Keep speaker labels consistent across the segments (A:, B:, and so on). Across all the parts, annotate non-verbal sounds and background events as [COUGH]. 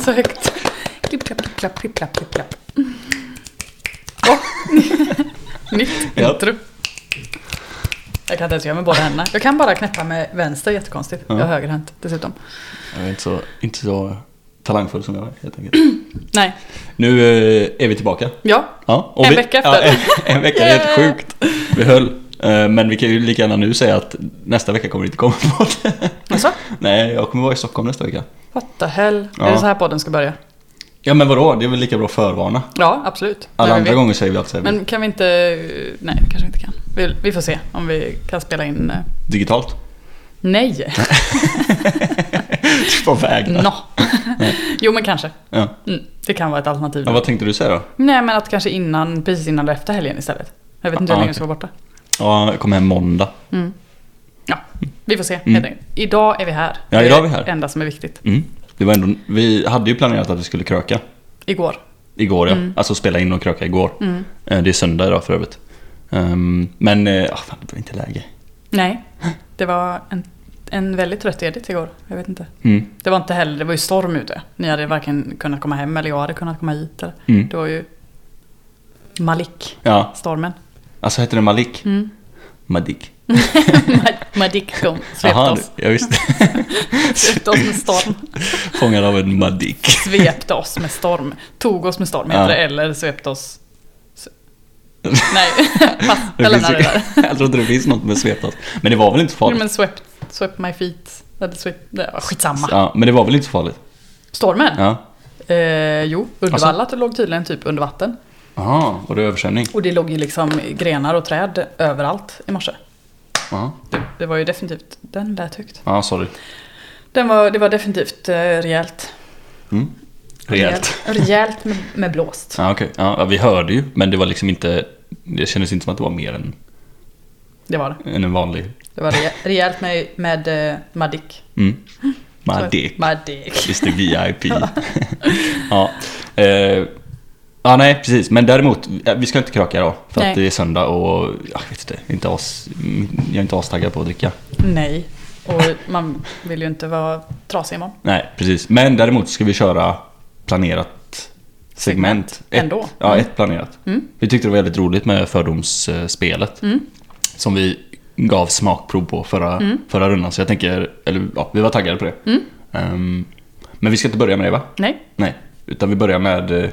A: så högt. Klipp, klapp, klipp, klapp, klipp, klapp, klipp, klapp. Oh. [LAUGHS] Nytt
B: Ja.
A: intro. Jag kan inte ens göra med båda händerna. Jag kan bara knäppa med vänster, jättekonstigt.
B: Ja.
A: Jag är högerhänt dessutom.
B: Jag är inte så, inte så talangfull som jag är helt enkelt.
A: Nej,
B: Nu eh, är vi tillbaka.
A: ja.
B: Ja,
A: En vecka efter.
B: Ja, [LAUGHS] en, en vecka, det är helt
A: Yeah.
B: sjukt. Vi höll. Eh, Men vi kan ju lika gärna nu säga att nästa vecka kommer det [LAUGHS] inte komma något.
A: Alltså,
B: Nej, jag kommer vara i Stockholm nästa vecka.
A: what the hell.
B: Ja.
A: Är det så här podden ska börja?
B: Ja men vadå, det är väl lika bra att förvarna.
A: Ja, absolut.
B: Alla
A: Nej, men
B: andra
A: vi-
B: gånger säger vi alltid så här,
A: Men kan vi inte... Nej, det kanske vi inte kan. Vi, vi får se om vi kan spela in... eh,
B: digitalt. [LAUGHS]
A: Nej!
B: På väg där.
A: Nå. jo, men kanske.
B: Ja.
A: Mm, det kan vara ett alternativ.
B: Ja, vad tänkte du säga då?
A: Nej, men att kanske innan, precis innan eller efter helgen istället. Jag vet inte hur länge
B: Ja, Ah, okej.
A: jag ska vara borta.
B: Ja, jag kommer hem måndag.
A: Ja, vi får se
B: Mm.
A: helt enkelt. Idag är vi här.
B: Ja, idag är vi här.
A: Det enda som är viktigt.
B: Mm. Det var ändå, vi hade ju planerat att vi skulle kröka
A: Igår.
B: igår ja.
A: Mm.
B: Alltså spela in och kröka igår.
A: Mm.
B: Eh, Det är söndag idag för övrigt. Ehm, Men, eh, ah, fan det var inte läge.
A: Nej, det var en, en väldigt trött ledigt igår. Jag vet inte.
B: Mm.
A: Det var inte heller, det var ju storm ute. Ni hade varken kunnat komma hem eller jag hade kunnat komma hit. Eller.
B: Mm.
A: Det var ju Malik,
B: Ja,
A: stormen.
B: alltså heter den
A: [LAUGHS]
B: Malik?
A: Mm.
B: Malik.
A: Ma- Malik kom, svepte
B: Jaha,
A: oss. [LAUGHS]
B: jag visste.
A: Svepte oss med storm.
B: Fångad av en Malik.
A: Svepte oss med storm. Tog oss med storm heter
B: Ja.
A: det, eller svepte oss...
B: [LAUGHS]
A: s- Nej, [LAUGHS] pass.
B: Det
A: Jag
B: finns
A: lämnar det
B: ju-
A: där.
B: [LAUGHS] jag tror inte det finns något med svetas. Men det var väl inte så
A: Jo,
B: farligt?
A: men swept, swept my feet. Eller swept, det var skitsamma.
B: Ja, men det var väl inte så farligt?
A: Stormen?
B: Ja. Alltså-
A: Eh, jo, Uddevalla det låg tydligen typ under vatten.
B: Jaha, var det översvämning?
A: Och det låg ju liksom grenar och träd överallt i morse.
B: Jaha.
A: Det, det var ju definitivt, den lät högt.
B: Ja, sorry.
A: Den var, det var definitivt eh, rejält.
B: Mm. Rejält.
A: Rejält med, med blåst.
B: Ja, okej. Ja, ja, vi hörde ju, men det var liksom inte... Det kändes inte som att det var mer än,
A: Det var det.
B: än en vanlig...
A: Det var reje- rejält med, med eh, Madik.
B: Mm. Madik.
A: Madik.
B: Mr VIP. [LAUGHS] ja. Eh, ja, nej precis. Men däremot, eh, vi ska inte kröka idag. För
A: Nej.
B: att det är söndag och jag vet inte, inte as, mm, jag är inte astaggad på att dricka.
A: Nej. Och man vill ju inte vara trasig imorgon.
B: Nej, precis. Men däremot ska vi köra planerat segment. Ett,
A: Ändå. Mm.
B: Ja, ett planerat. Vi tyckte det var väldigt roligt med fördomsspelet. Som vi gav smakprov på förra,
A: Mm.
B: förra rundan. Så jag tänker, eller ja, vi var taggade på det. Ehm, men vi ska inte börja med det va?
A: Nej,
B: Nej, utan vi börjar med... eh,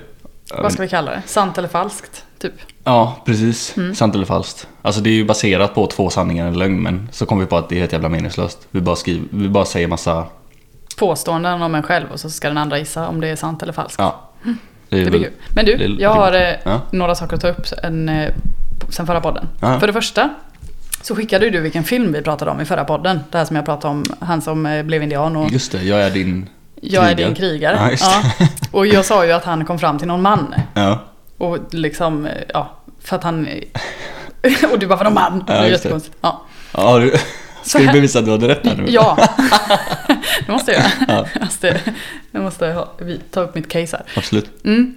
A: vad ska vi kalla det? Sant eller falskt, typ.
B: Ja, precis. Sant eller falskt. Alltså det är ju baserat på två sanningar eller lögn, men så kom vi på att det är helt jävla meningslöst. Vi bara, skriver, vi bara säger massa...
A: påståenden om en själv och så ska den andra gissa om det är sant eller falskt.
B: Ja. Det
A: det
B: väl-
A: blir kul. Men du,
B: det är
A: jag har eh,
B: roligt. Ja.
A: några saker att ta upp en, eh, sen förra podden.
B: Ja.
A: För det första så skickade ju du vilken film vi pratade om i förra podden. Det här som jag pratade om, han som eh, blev indian och
B: Just det, jag är din...
A: jag är din krigare.
B: Ja, just det. [LAUGHS]
A: Ja. Och jag sa ju att han kom fram till någon man.
B: Ja.
A: Och liksom, eh, ja, för att han... [LAUGHS] Och du bara, vadå man? det
B: Ja,
A: är
B: just det.
A: jättekonstigt. Ja.
B: ja du... Ska du
A: här-
B: bevisa att du hade rätt här nu? [LAUGHS]
A: Ja, det måste jag
B: Ja.
A: göra. Jag måste, jag måste ha, vi- ta upp mitt case här.
B: Absolut.
A: Mm.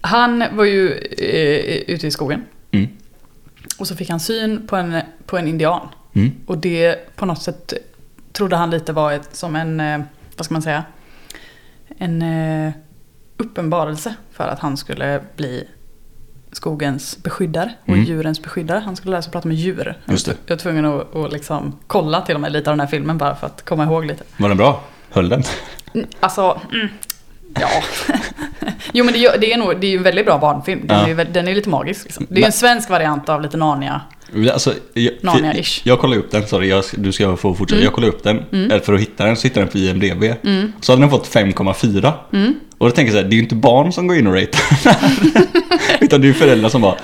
A: Han var ju eh, ute i skogen
B: Mm.
A: och så fick han syn på en, på en indian.
B: Mm.
A: Och det på något sätt trodde han lite var ett, som en, eh, vad ska man säga, en eh, uppenbarelse för att han skulle bli skogens beskyddare och
B: Mm.
A: djurens beskyddare. Han skulle lära sig prata med djur.
B: Just det.
A: Jag var tvungen att, att liksom kolla till och med lite av den här filmen bara för att komma ihåg lite.
B: Var den bra? Höll den?
A: Mm, Alltså, mm, ja. [LAUGHS] jo men det, gör- det är nog, det är ju en väldigt bra barnfilm. Den,
B: Ja.
A: är, ju vä- den är lite magisk liksom. Det är ju en svensk variant av lite Narnia.
B: Alltså, jag,
A: Narnia-ish.
B: jag kollade upp den, sorry, jag, du ska få fortsätta.
A: Mm.
B: Jag kollade upp den eh, för att hitta den, så hittade den på IMDB. Så hade den fått 5,4.
A: Mm.
B: Och då tänker jag så här, det är ju inte barn som går in och ratear den
A: [LAUGHS]
B: här. Utan det är ju föräldrar som bara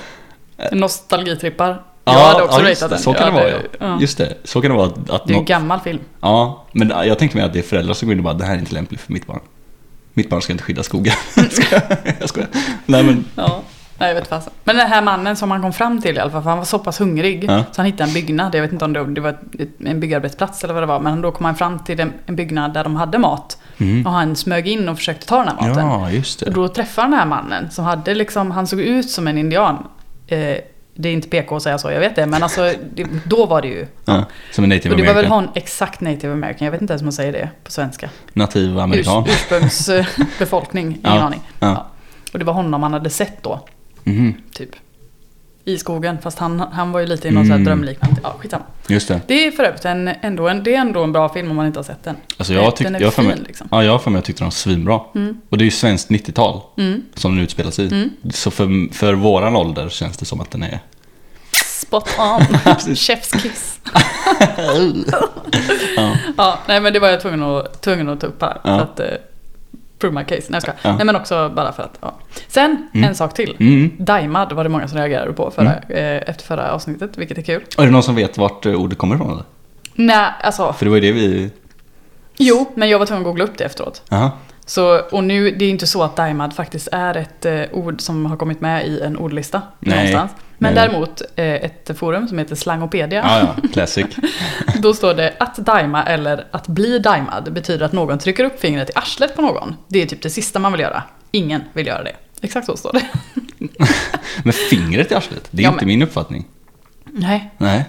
A: Nostalgitrippar.
B: "Ja,
A: jag hade också
B: ja, just
A: ratat
B: det,
A: den.
B: Så
A: Jag
B: kan det vara ja.
A: hade- ja.
B: Just det, så kan det vara att, att
A: Det är ju
B: nå-
A: en gammal film.
B: Ja, men jag tänkte mig att det är föräldrar som går in och bara det här är inte lämpligt för mitt barn. Mitt barn ska inte skydda skogen.
A: Mm.
B: [LAUGHS] jag skojar. Nej men,
A: Ja. Nej, jag vet fasen. Men den här mannen som han kom fram till i alla fall, för han var så pass hungrig.
B: Ja.
A: Så han hittade en byggnad, jag vet inte om det, det var ett- en byggarbetsplats eller vad det var. Men då kom han fram till en, en byggnad där de hade mat. Och han smög in och försökte ta den här maten.
B: Mm. ja just
A: Och
B: det.
A: då träffade han den här mannen som hade liksom, han såg ut som en indian. Eh, Det är inte PK att säga så, jag vet det. Men alltså, det, då var det ju.
B: Ja, som en native
A: Och det var väl
B: american.
A: hon exakt native american. Jag vet inte ens hur man säger det på svenska.
B: Nativ
A: Urs,
B: amerikan.
A: ursprungsbefolkning, ingen
B: [LAUGHS] Ja,
A: aning.
B: ja.
A: Och det var honom man hade sett då,
B: Mhm,
A: typ. I skogen, fast han, han var ju lite i någon sån här
B: Mm.
A: drömliknande... Ja, skitsamma.
B: just det.
A: Det är för övrigt en, ändå, en, det är ändå en bra film om man inte har sett den.
B: Alltså jag, tyck,
A: den är
B: jag, har för mig,
A: fin liksom.
B: ja, jag har för mig att jag tyckte den var svinbra.
A: Mm.
B: Och det är ju svenskt 90-tal som den utspelar sig i. Så för, för våran ålder känns det som att den är...
A: Spot
B: [LAUGHS]
A: on. Chef's kiss.
B: Ja.
A: Ja, nej men det var jag tvungen att, tvungen att ta upp här.
B: Ja.
A: För att eh, prove my case. Nej, jag skojar.
B: Ja.
A: nej men också bara för att, ja. Sen, en sak till.
B: Mm.
A: Daimad var det många som reagerade på förra, eh, efter förra avsnittet, vilket är kul.
B: Är det någon som vet vart eh, ordet kommer ifrån? Eller?
A: Nej, alltså,
B: För det var ju det vi...
A: jo, men jag var tvungen att googla upp det efteråt.
B: Aha.
A: Så, och nu, det är inte så att daimad faktiskt är ett eh, ord som har kommit med i en ordlista
B: Nej.
A: någonstans. Men
B: Nej.
A: däremot eh, ett forum som heter Slangopedia.
B: Ja, ja, classic.
A: [LAUGHS] Då står det att daima eller att bli daimad betyder att någon trycker upp fingret i arslet på någon. Det är typ det sista man vill göra. Ingen vill göra det. Exakt så står det. [LAUGHS]
B: Men fingret i arslet, det är
A: Ja,
B: inte
A: men-
B: min uppfattning.
A: Nej,
B: Nej.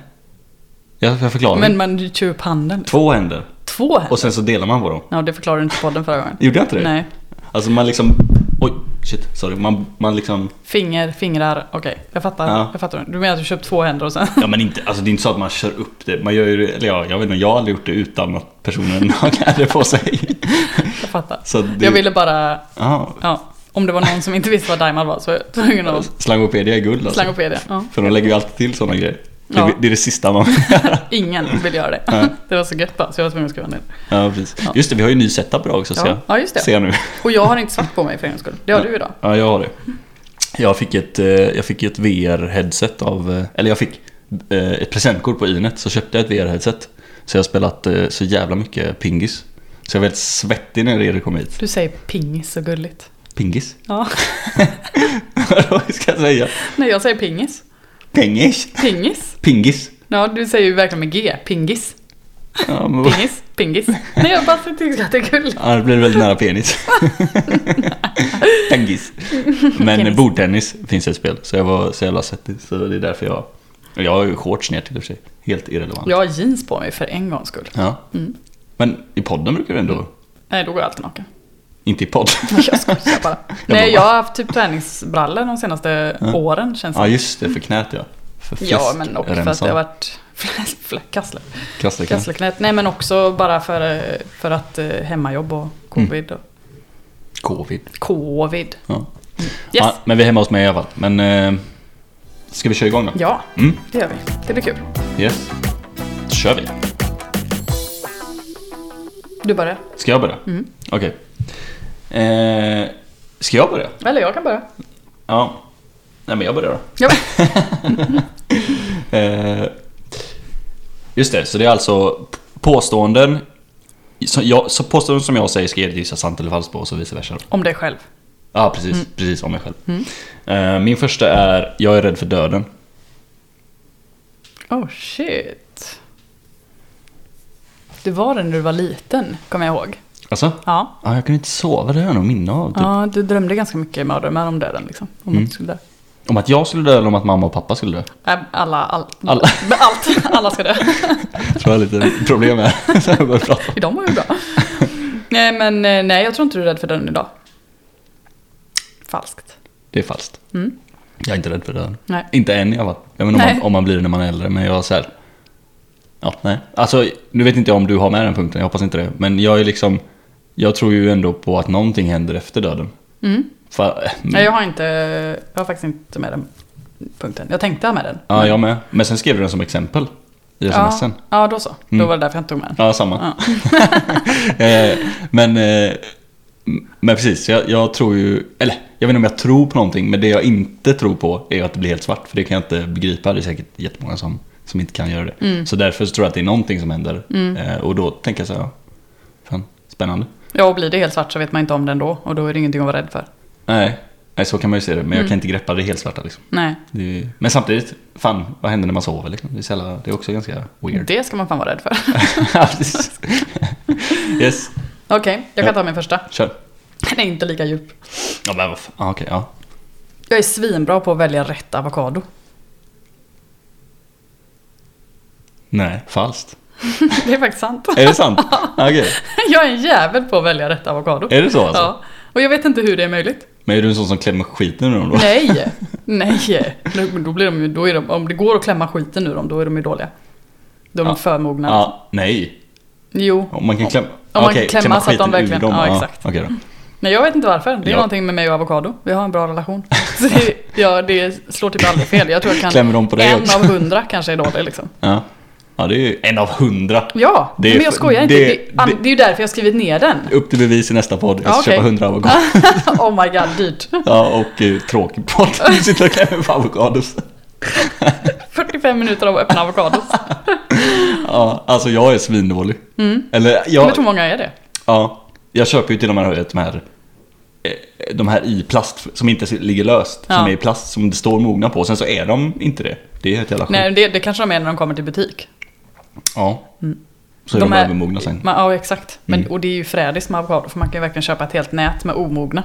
B: Jag, jag förklarar.
A: men man kör upp handen.
B: Två händer
A: Två händer.
B: och sen så delar man på dem.
A: Ja, det förklarade du inte på podden förra gången.
B: Gjorde jag inte det?
A: Nej.
B: Alltså man liksom... Oj, shit, sorry. Man, man liksom...
A: Finger, fingrar, okej. Jag fattar.
B: Ja.
A: Jag fattar. Du menar att du köpt två händer och sen...
B: Ja men inte, alltså det är inte så att man kör upp det. Man gör ju det, eller ja, jag vet inte, jag har aldrig gjort det utan att personen [LAUGHS] har kläder på sig.
A: [LAUGHS] Jag fattar.
B: Så det,
A: Jag ville bara...
B: Ja,
A: Ja, om det var någon som inte visste vad daimad var så var jag tvungen att...
B: slangopedia är guld alltså.
A: Slangopedia. Ja.
B: För de lägger ju alltid till sådana grejer. Det,
A: Ja.
B: det är det sista man...
A: Ingen vill göra det.
B: Nej.
A: Det var så gött bara, så jag var tvungen att skriva ner.
B: ja, precis. Just det, vi har ju ny setup idag också.
A: Ja.
B: Ja.
A: ja, just
B: Jag,
A: det.
B: ser jag nu.
A: Och jag har inte svart på mig för en gångs skull. Det har du idag.
B: Ja, jag har det. Jag fick ett, eh, jag fick ett VR-headset av... eh, Eller jag fick eh, ett presentkort på Inet, så köpte jag ett VR-headset. Så jag har spelat eh, så jävla mycket pingis. Så jag var väldigt svettig när Erik kom hit.
A: Du säger pingis så gulligt.
B: Pingis? [LAUGHS]
A: Ja. [LAUGHS]
B: Vad ska jag säga?
A: Nej, jag säger pingis.
B: Pingis?
A: Pingis?
B: Pingis?
A: Ja, du säger ju verkligen med G. Pingis.
B: Ja, men,
A: Pingis. Pingis. Nej, jag bara tycker att det är gulligt.
B: ja, det blir väldigt
A: [LAUGHS]
B: nära penis. Pingis. Men
A: Penis.
B: bordtennis finns ett spel, så jag var så jävla svettig. Så det är därför jag... och Jag har ju shorts ner till i och för sig. Helt irrelevant.
A: Jag har jeans på mig för en gångs skull. Mm.
B: Ja. Men i podden brukar du ändå...
A: Nej, då går jag alltid
B: [LAUGHS]
A: naken.
B: Inte i podd. [LAUGHS]
A: Jag skojar bara. Nej,
B: bara-
A: jag har haft typ träningsbrallor de senaste åren känns det.
B: Ja just det, för knät ja. För
A: Ja, men också för att det har
B: var...
A: varit [LAUGHS] fläsk- fläsk- kassle-
B: Kassleknät.
A: kassleknät. Nej, men också bara för, eh, för att eh, hemmajobb och
B: Mm.
A: covid. Och
B: Covid.
A: covid.
B: Ja.
A: Yes,
B: Ja, men vi är hemma hos mig i alla fall. Men... Eh, ska vi köra igång då?
A: ja,
B: Mm,
A: det gör vi. Det blir kul.
B: yes. Då kör vi.
A: Du börjar.
B: Ska jag börja?
A: Mm.
B: Okej. Eh, ska jag börja?
A: Eller jag kan börja.
B: Ja. Nej men jag börjar då.
A: Ja,
B: [LAUGHS] Eh, just det, så det är alltså p- påståenden. Så, jag, så påståenden som jag säger ska Edith gissa sant eller falskt på och så vice versa.
A: om dig själv.
B: Ja, precis.
A: Mm.
B: Precis, om mig själv. Eh, min första är, jag är rädd för döden.
A: Oh shit. Det var det när du var liten, kommer jag ihåg.
B: Alltså?
A: Ja.
B: Ja, jag kunde inte sova, det har jag nog minne av. Typ.
A: Ja, du drömde ganska mycket mardrömmar om döden liksom. Om
B: Mm.
A: att du skulle dö.
B: Om att jag skulle dö eller om att mamma och pappa
A: [LAUGHS]
B: skulle dö.
A: Nej, Alla, allt.
B: Alla.
A: [LAUGHS] Allt. Alla ska dö.
B: Tror jag har lite problem med.
A: [LAUGHS]
B: Så jag börjar prata.
A: De var ju bra. [LAUGHS] Nej, men eh, nej, jag tror inte du är rädd för döden idag. Falskt.
B: det är falskt.
A: Mm.
B: Jag är inte rädd för döden.
A: Nej.
B: Inte än i alla fall. Jag vet inte om
A: Nej.
B: man, om man blir det när man är äldre, men jag är så här. Ja, nej. Alltså, nu vet inte jag om du har med den punkten, jag hoppas inte det. Men jag är liksom, jag tror ju ändå på att någonting händer efter döden.
A: Mm.
B: Fa-
A: Nej, jag har inte, jag har faktiskt inte med den punkten. Jag tänkte ha med den.
B: Ja, jag med. Men sen skrev du den som exempel i smsen.
A: Ja, ja, då så. Då
B: Mm.
A: var det därför jag inte tog med den.
B: Ja, samma. [LAUGHS] Eh, men, eh, m- men precis, jag, jag tror ju, eller jag vet inte om jag tror på någonting, men det jag inte tror på är att det blir helt svart. För det kan jag inte begripa, det är säkert jättemånga som, som inte kan göra det. Så därför så tror jag att det är någonting som händer. Eh, och då tänker jag så här, ja, fan, spännande.
A: Ja, och blir det helt svart så vet man inte om den då. Och då är det ingenting att vara rädd för.
B: Nej, nej så kan man ju se det, men jag kan inte greppa det helt svarta liksom.
A: Nej,
B: Det är, men samtidigt, fan, vad händer när man sover liksom? Det är, så jävla, det är också ganska
A: [LAUGHS]
B: weird.
A: det ska man fan vara rädd för.
B: Ja, precis. [LAUGHS] yes,
A: Okej, jag kan
B: Ja.
A: ta min första.
B: kör.
A: Den är inte lika djup.
B: Ja, men vad fan, ah, okej, ja.
A: Jag är svinbra på att välja rätt avokado. [LAUGHS]
B: Nej, falskt.
A: Det är faktiskt sant. [LAUGHS]
B: Är det sant? Ah, Okej,
A: Jag är en jävel på att välja rätt avokado.
B: är det så alltså?
A: Ja. Och jag vet inte hur det är möjligt.
B: Men är du en sån som klämmer skiten ur dem då?
A: Nej, nej. Nu- Då blir de ju, då är de, om det går att klämma skiten ur dem, då är de ju dåliga. Då är de
B: Ja.
A: för mogna.
B: Ja, nej.
A: Jo.
B: Om man kan klämma...
A: man kan
B: Okej,
A: klämma så att de
B: skiten ur
A: verkligen-
B: dem,
A: ja, exakt.
B: Okej då.
A: Nej, jag vet inte varför. Det är
B: Ja.
A: någonting med mig och avokado. Vi har en bra relation. [LAUGHS] Så det, ja, det slår typ aldrig fel. Jag tror jag kan...
B: Klämmer de på dig
A: En
B: också?
A: av hundra kanske är dålig liksom.
B: Ja. ja, det är ju en av hundra.
A: Ja,
B: Det är
A: men jag
B: för-
A: skojar inte.
B: det-
A: Det, det, det,
B: det-
A: är ju därför jag har skrivit ner den. [LAUGHS]
B: Upp till bevis i nästa podd. Jag ska
A: Ja, okej.
B: köpa hundra
A: [LAUGHS]
B: avokador.
A: oh my god, dyrt. [LAUGHS]
B: Ja, och eh, tråkig podd. Sitta och klämmer på avokados.
A: 45 minuter av öppna avokados.
B: Ja, alltså jag är svindålig.
A: Mm.
B: Eller
A: Men
B: jag,
A: hur många är det?
B: ja, jag köper ju till och med vet, de här eh, de här i plast som inte ligger löst,
A: Ja.
B: som är i plast som det står mogna på. Sen så är de inte det. Det är ett jävla skit.
A: Nej, det, det kanske de är när de kommer till butik.
B: Ja. Så är de,
A: Mm. De är-
B: övermogna sen.
A: Man, ja, exakt. Men,
B: Mm.
A: Och det är ju frädis med avokado, för man kan ju verkligen köpa ett helt nät med omogna.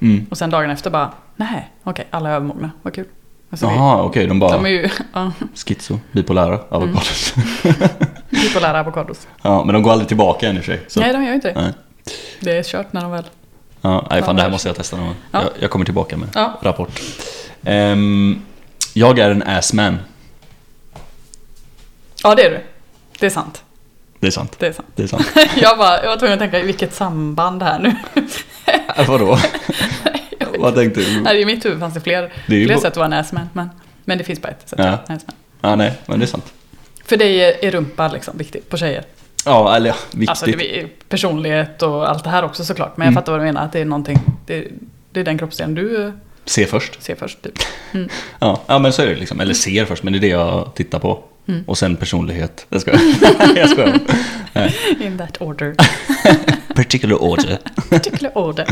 B: Mm.
A: Och sen dagen efter bara, nej, okej, alla är övermogna, vad kul. Alltså, det,
B: Jaha, okej, de bara
A: de är Mm. ju ja, [LAUGHS]
B: schizo, bipolära avokados.
A: bipolära typ avokados.
B: [LAUGHS] ja, men de går aldrig tillbaka än i och för sig. Så.
A: Nej, de gör ju inte det.
B: Nej.
A: Det är kört när de väl...
B: Ja, nej, fan, det här
A: Ja.
B: måste jag testa någon gång.
A: Ja.
B: Jag, jag kommer tillbaka med
A: Ja.
B: rapport. Ehm, jag är en assman.
A: Ja, det är du. Det är sant.
B: Det är sant.
A: Det är sant. [LAUGHS]
B: Det är sant.
A: Jag, bara, jag var tvungen att tänka, i vilket samband här nu?
B: Äh, Vadå? [LAUGHS] Vad tänkte du?
A: Nej, I mitt huvud fanns det fler,
B: Det är ju
A: fler
B: bo-
A: sätt att vara näsman. Men, men det finns bara ett sätt
B: Ja.
A: att vara näsman.
B: Ja, nej, men det är sant.
A: För dig är, är rumpa liksom viktigt på tjejer.
B: Ja, eller ja, viktigt.
A: Alltså det är personlighet och allt det här också såklart. Men jag
B: Mm.
A: fattar vad du menar, att det är någonting. Det, det är den kroppsdelen du eh,
B: Se först.
A: ser först.
B: [LAUGHS]
A: Typ.
B: Ja, ja, men så är det liksom.
A: Mm.
B: Eller ser först, men det är det jag tittar på. Och sen personlighet. Jag skojar. [LAUGHS] jag skojar.
A: [LAUGHS] In that order.
B: Particular order.
A: Particular order.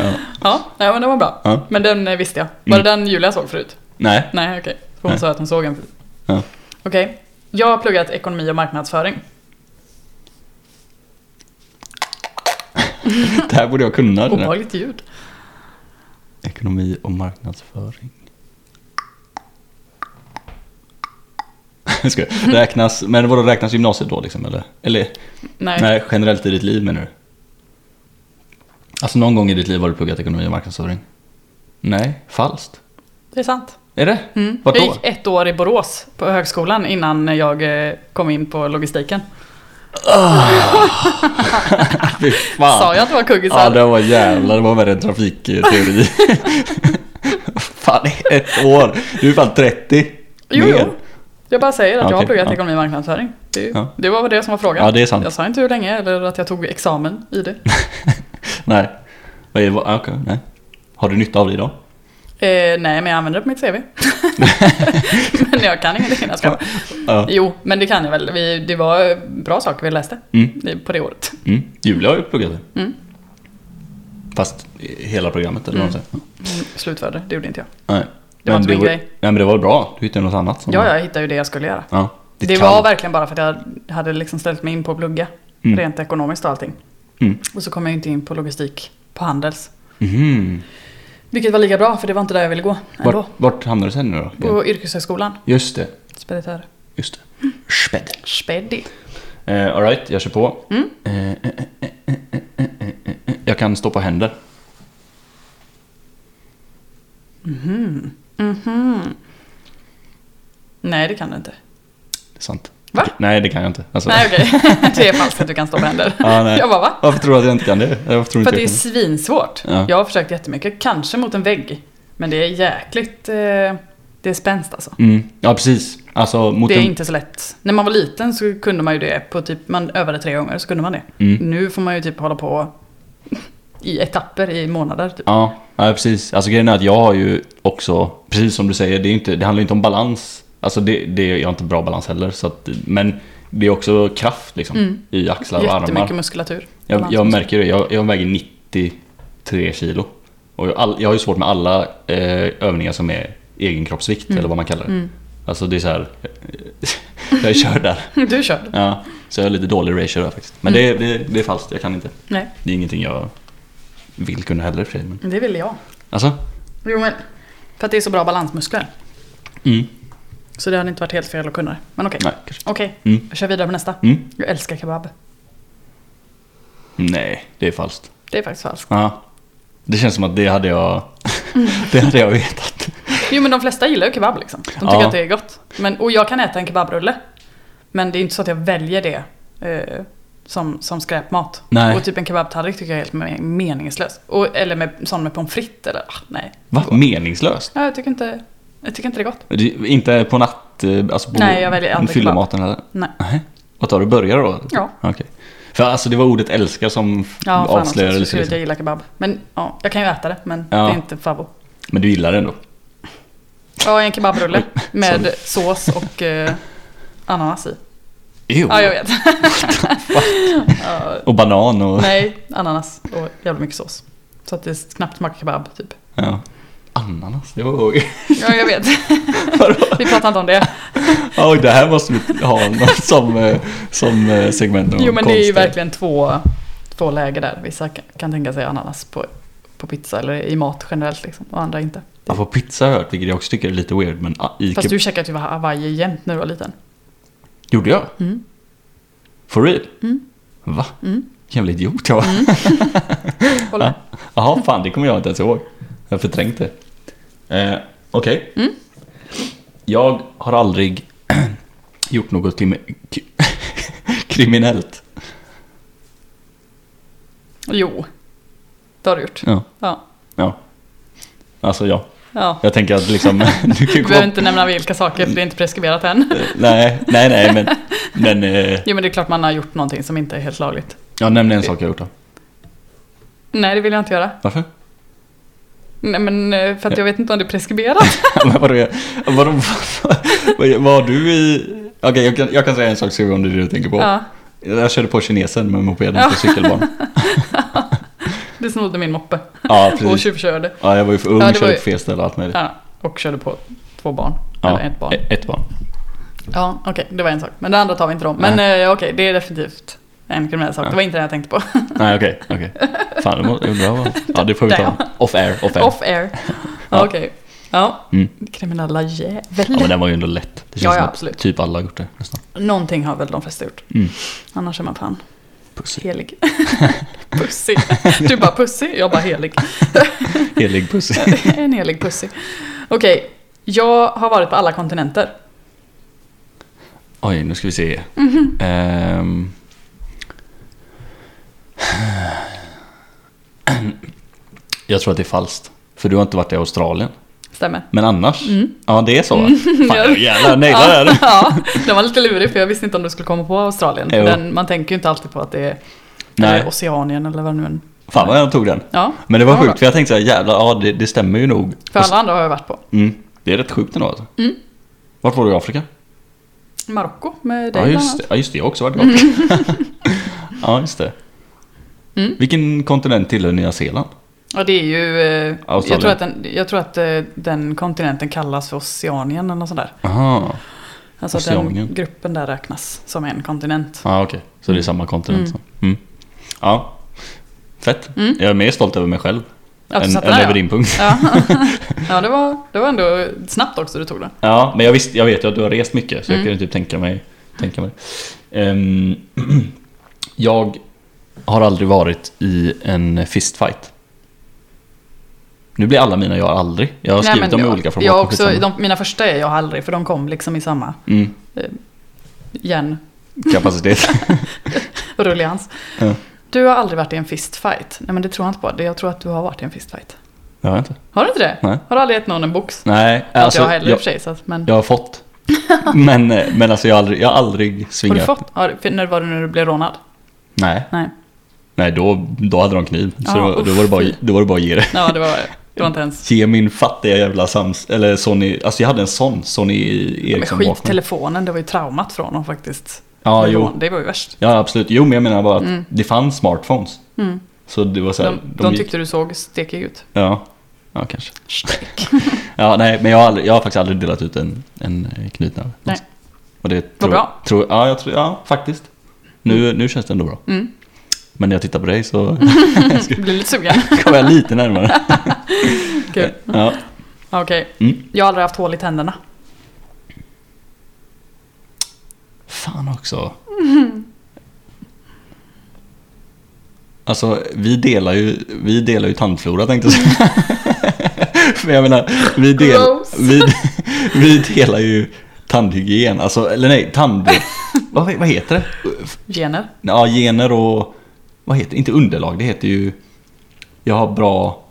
B: Ja.
A: Ja, nej, men det var bra.
B: Ja.
A: Men den eh, visste jag. Var det den Julia såg förut?
B: Nej.
A: Nej, okej. För Hon
B: Nej.
A: sa att hon såg en förut.
B: Ja.
A: Okej. Jag har pluggat ekonomi och marknadsföring.
B: Det här borde jag kunna. det där.
A: Obehagligt ljud.
B: Ekonomi och marknadsföring. Jag skojar. Räknas, men vadå, räknas gymnasiet då liksom? Eller? eller
A: Nej.
B: Nej, generellt i ditt liv menar du? Alltså någon gång i ditt liv har du pluggat ekonomi och marknadsföring? Nej, falskt.
A: det är sant.
B: Är det?
A: Mm.
B: Vart
A: jag
B: då?
A: gick ett år i Borås på högskolan innan jag eh, kom in på logistiken.
B: [LAUGHS] Fy fan.
A: Sa jag att det var kuggisar?
B: Ah. Ja, det var jävlar, det var värre än trafikteori. [LAUGHS] fan, ett år. Du är fan 30.
A: Jo,
B: Mer.
A: jo. Jag bara säger att jag har
B: Okej,
A: pluggat
B: ja.
A: ekonomi och marknadsföring. Det,
B: Ja.
A: det var väl det som var frågan.
B: Ja, det är sant.
A: Jag sa inte hur länge eller att jag tog examen i det.
B: [LAUGHS] Nej. Vad är- vad- Okej, nej. Har du nytta av det idag?
A: Eh, nej, men jag använder det på mitt
B: [LAUGHS]
A: CV. men jag kan ingenting. Jag ska.
B: Ja.
A: Jo, men det kan jag väl. Vi, det var bra saker vi läste
B: Mm.
A: i- på det året.
B: Mm. Julia har ju pluggat det.
A: Mm.
B: Fast hela programmet eller vad man säger.
A: Mm, Slutförde, det gjorde inte jag.
B: Nej.
A: Det var inte
B: du
A: min
B: var,
A: grej.
B: Nej, men det var väl bra? Du hittade något annat? som-
A: Ja, jag hittade ju det jag skulle göra.
B: ja.
A: Det,
B: Ditt
A: var
B: kall.
A: verkligen bara för att jag hade liksom ställt mig in på att plugga.
B: Mm.
A: Rent ekonomiskt och allting.
B: Mm.
A: Och så kom jag inte in på logistik på Handels.
B: Mhm.
A: Vilket var lika bra, för det var inte där jag ville gå ändå.
B: Vart, vart hamnade du sen nu då?
A: På yrkeshögskolan.
B: Just det,
A: Speditör.
B: just det. Spädd.
A: Spedi.
B: Eh, Alright, jag kör på.
A: Mm.
B: Eh, eh, eh, eh, eh, eh, eh, eh. jag kan stå på händer.
A: Nej, det kan du inte.
B: Det är sant.
A: Va?
B: Nej, det kan jag inte. Alltså,
A: Nej, okej. [LAUGHS] Det är falskt att du kan stå på händer.
B: Ja,
A: [LAUGHS]
B: nej.
A: Jag bara, va?
B: Varför tror du att jag inte kan det? Varför tror du
A: För
B: inte
A: att det är
B: jag kan det?
A: svinsvårt.
B: Ja.
A: Jag har försökt jättemycket, kanske mot en vägg. Men det är jäkligt... Eh, det är spänst alltså.
B: Mm. Ja, precis. Alltså, mot
A: Det är
B: en...
A: inte så lätt. När man var liten så kunde man ju det på typ, man övade tre gånger så kunde man det.
B: Mm.
A: Nu får man ju typ hålla på i etapper i månader. Typ.
B: Ja, ja, precis. Alltså grejen är att jag har ju också, precis som du säger, det, är inte, det handlar ju inte om balans. Alltså det, det, jag har inte bra balans heller. Så att, men det är också kraft liksom, i axlar och armar.
A: Jättemycket muskulatur.
B: Jag, jag märker det. Jag, jag väger 93 kilo. Och jag, all, jag har ju svårt med alla eh, övningar som är egen kroppsvikt eller vad man kallar det. Alltså det är så här. [LAUGHS] jag kör där.
A: [LAUGHS] Du körde.
B: Ja, så jag har lite dålig ratio där faktiskt. Men det, det, det är falskt, jag kan inte.
A: Nej,
B: Det är ingenting jag vill kunna heller i och för sig. Men,
A: det ville jag.
B: alltså,
A: Jo men, för att det är så bra balansmuskler.
B: mm.
A: Så det hade inte varit helt fel att kunna det. Men okej.
B: Nej, kanske.
A: Okej,
B: Mm.
A: jag kör vidare på nästa.
B: Mm.
A: Jag älskar kebab.
B: Nej, det är falskt.
A: Det är faktiskt
B: [LAUGHS]
A: falskt.
B: Ja. Det känns som att det hade jag, [LAUGHS] det hade jag vetat.
A: Jo men de flesta gillar ju kebab liksom. De tycker
B: Ja.
A: att det är gott. Men, och jag kan äta en kebabrulle. Men det är inte så att jag väljer det eh, som, som skräpmat.
B: Nej.
A: Och typ en kebabtallrik tycker jag är helt me- meningslös. Och, eller med, sån med pommes frites eller ah, nej.
B: Va? Meningslöst?
A: Ja, Jag tycker, inte, jag tycker inte det är gott.
B: Det, inte på natt, eh, alltså på
A: Nej, jag väljer aldrig
B: fyllematen eller?
A: Nej.
B: Nej. Vad tar du? Burgare då?
A: Ja.
B: Okej. För alltså det var ordet älskar som
A: Ja, fan också.
B: avslöjade
A: Jag
B: lite.
A: skulle att jag
B: Liksom.
A: gillar kebab. Men ja, jag kan ju äta det. Men
B: Ja.
A: det är inte favvo.
B: Men du gillar det ändå?
A: Ja, en
B: [LAUGHS]
A: kebabrulle
B: Oj, sorry.
A: med sås och eh, ananas i.
B: Jo.
A: Ja, jag vet. Ja,
B: Och banan och...
A: nej, ananas och jävla mycket sås. Så att det knappt smakar kebab, typ.
B: Ja. Ananas, det var... Oj, [LAUGHS]
A: Ja, jag vet. Vi pratar inte om det.
B: Oj, det här måste vi ha någon som, eh, som eh, segment. någon
A: Jo, men det är ju
B: konstig.
A: verkligen två, två läger där. Vissa kan kan tänka sig ananas på, på pizza eller i mat generellt, liksom, och andra inte.
B: Ja, på pizza har jag hört, vilket jag också tycker är lite weird, men ah, i
A: Fast
B: keb-
A: du käkade ju hawaii jämt när du var liten.
B: Gjorde jag?
A: Mm.
B: For real?
A: Mm.
B: Va?
A: Mm.
B: Jävla idiot jag var.
A: Håller med.
B: [LAUGHS] Jaha, fan det kommer jag inte ens ihåg. Jag har förträngt det. Eh, Okej.
A: Mm.
B: Jag har aldrig [CLEARS THROAT] gjort något krim- k- [LAUGHS] kriminellt.
A: Jo, det har du gjort.
B: Ja.
A: Ja.
B: ja. Alltså ja.
A: ja.
B: Jag tänker
A: [LAUGHS]
B: att liksom...
A: Du
B: Du kan komma...
A: behöver inte nämna vilka saker, för det är inte preskriberat
B: [LAUGHS]
A: än.
B: Nej, nej, nej, men... men
A: [LAUGHS]
B: eh,
A: Jo men det är klart man har gjort någonting som inte är helt lagligt.
B: jag nämner en sak jag har gjort då.
A: Nej det vill jag inte göra.
B: Varför?
A: Nej men eh, för att jag vet inte om det är preskriberat.
B: [LAUGHS] Men vadå, jag- vadå, vad, vad har du i... Okej, jag, kan, jag kan säga en sak så om det är det du tänker på.
A: Ja,
B: Jag körde på kinesen med mopeden
A: Ja.
B: på cykelbanan.
A: du snodde min moppe
B: Ja,
A: och
B: precis.
A: tjuvkörde.
B: Ja, jag var ju för ung,
A: Ja, det var
B: körde
A: ju-
B: på fel ställe och allt möjligt.
A: Ja, och körde på två barn.
B: Ja,
A: Eller ett barn.
B: e- Ett barn.
A: Ja okej, det var en sak. Men det andra tar vi inte om. Men eh, okej, det är definitivt en kriminell sak.
B: Ja.
A: Det var inte det jag tänkte på.
B: Nej, okej. okej. Fan, det må- undrar vad... Ja, det får vi ta.
A: Damn.
B: Off air, off air.
A: [LAUGHS] Off air.
B: [LAUGHS] Ja.
A: Ja. Okej. Ja,
B: Mm.
A: kriminella jävel.
B: Ja, men den var ju ändå lätt. Det känns
A: Ja, ja,
B: som att
A: absolut.
B: typ alla har gjort det nästan.
A: Någonting har väl de flesta gjort.
B: Mm.
A: Annars är man fan
B: Pussy. [LAUGHS]
A: helig. pussy. Du bara pussy, jag bara helig. [LAUGHS]
B: Helig pussy.
A: en helig pussy. Okej, jag har varit på alla kontinenter.
B: Oj, nu ska vi se.
A: Mhm.
B: Ehm. Jag tror att det är falskt. För du har inte varit i Australien.
A: Stämmer.
B: Men annars? Ja, det är så. va? Fan,
A: Mm. [LAUGHS] Ja.
B: jag jävlar nailade det här.
A: [LAUGHS] ja, den var lite lurig för jag visste inte om du skulle komma på Australien. För
B: Jo.
A: Den, man tänker ju inte alltid på att det är
B: Nej.
A: eller Oceanien eller vad det nu är.
B: Fan vad jag tog den.
A: Ja,
B: Men det var
A: Ja,
B: sjukt,
A: bra.
B: för jag tänkte såhär, jävlar, ja det, det stämmer ju nog.
A: för alla andra har jag varit på.
B: Mm, det är rätt sjukt ändå alltså.
A: Mm.
B: Vart var du i Afrika?
A: Marocko med dig
B: Ja
A: bland
B: just,
A: annat.
B: det. ja just det, jag har också varit i Afrika.
A: [LAUGHS]
B: [LAUGHS] ja just det.
A: Mm.
B: Vilken kontinent tillhör Nya Zeeland?
A: Ja, det är ju... eh,
B: Australien.
A: Jag tror, att den, jag tror att eh, den kontinenten kallas för Oceanien eller något sånt där.
B: Aha.
A: Alltså att
B: Oceanien.
A: den gruppen där räknas som en kontinent.
B: Ja ah, okej, så det är samma kontinent. Mm. Mm. Ja, fett.
A: Mm.
B: Jag är mer stolt över mig själv
A: Ja, du
B: än,
A: satte
B: än
A: där,
B: över
A: ja.
B: din punkt. [LAUGHS]
A: Ja, [LAUGHS] ja det, var, det var ändå snabbt också du tog den.
B: Ja, men jag, visst, jag vet ju att du har rest mycket så
A: Mm.
B: jag kunde typ tänka mig, tänka mig. Ehm, [CLEARS THROAT] Jag har aldrig varit i en fistfight. Nu blir alla mina jag aldrig. Jag har skrivit dem i
A: jag-
B: olika format.
A: Jag
B: men
A: också,
B: skitsamma.
A: de, mina första är jag aldrig, för de kom liksom i samma
B: Mm,
A: igen [LAUGHS]
B: kapacitet.
A: rullians.
B: Ja.
A: Du har aldrig varit i en fistfight. Nej men det tror jag inte på. Det- Jag tror att du har varit i en fistfight.
B: jag har jag inte.
A: Har du inte det?
B: Nej.
A: Har du aldrig gett någon en box?
B: Nej,
A: Inte
B: alltså,
A: jag heller i
B: jag,
A: och för sig. Så att, men,
B: jag har fått. Men, eh, men alltså jag har aldrig, jag har aldrig
A: har
B: svingat.
A: du fått? Har, för när var det när du blev rånad?
B: Nej.
A: Nej.
B: Nej, då, då hade de kniv. Så
A: Ja,
B: då, då,
A: Ah, uff,
B: var det bara,
A: fy.
B: då var det bara att ge det.
A: Ja, det var, det var inte
B: [LAUGHS]
A: ens...
B: Ge min fattiga jävla Sams, eller Sony, alltså jag hade en sån Sony
A: Men
B: Ericsson
A: skit,
B: Walkman.
A: telefonen, det var ju traumat från honom faktiskt.
B: Ja,
A: Men
B: jo.
A: rån, Det var ju värst.
B: Ja, absolut. Jo, men jag menar bara att
A: Mm.
B: det fanns smartphones.
A: Mm.
B: Så det var så här,
A: De, de
B: gick-
A: tyckte du såg stekig
B: [LAUGHS]
A: ut.
B: Ja, ja kanske. [LAUGHS] ja, nej, men jag har, aldrig, jag har faktiskt aldrig delat ut en, en eh, knytnäve.
A: Nej.
B: Och det tror,
A: bra.
B: Tror, ja, jag tror, ja, faktiskt. Nu, nu känns det ändå bra.
A: Mm.
B: Men när jag tittar på dig så [LAUGHS]
A: Jag blir lite sugen.
B: kommer jag
A: [LAUGHS]
B: lite närmare.
A: Kul.
B: ja.
A: Okej.
B: Mm.
A: Jag har aldrig haft hål i tänderna.
B: Fan också. [LAUGHS] Alltså, vi delar ju, vi delar ju tandflora tänkte jag säga. [LAUGHS] Men jag menar, vi, del,
A: Gross.
B: vi, vi delar ju tandhygien. Alltså, eller nej, tand... vad, vad heter det?
A: Gener.
B: Ja, gener och... Vad heter det? Inte underlag, det heter ju... Jag har bra...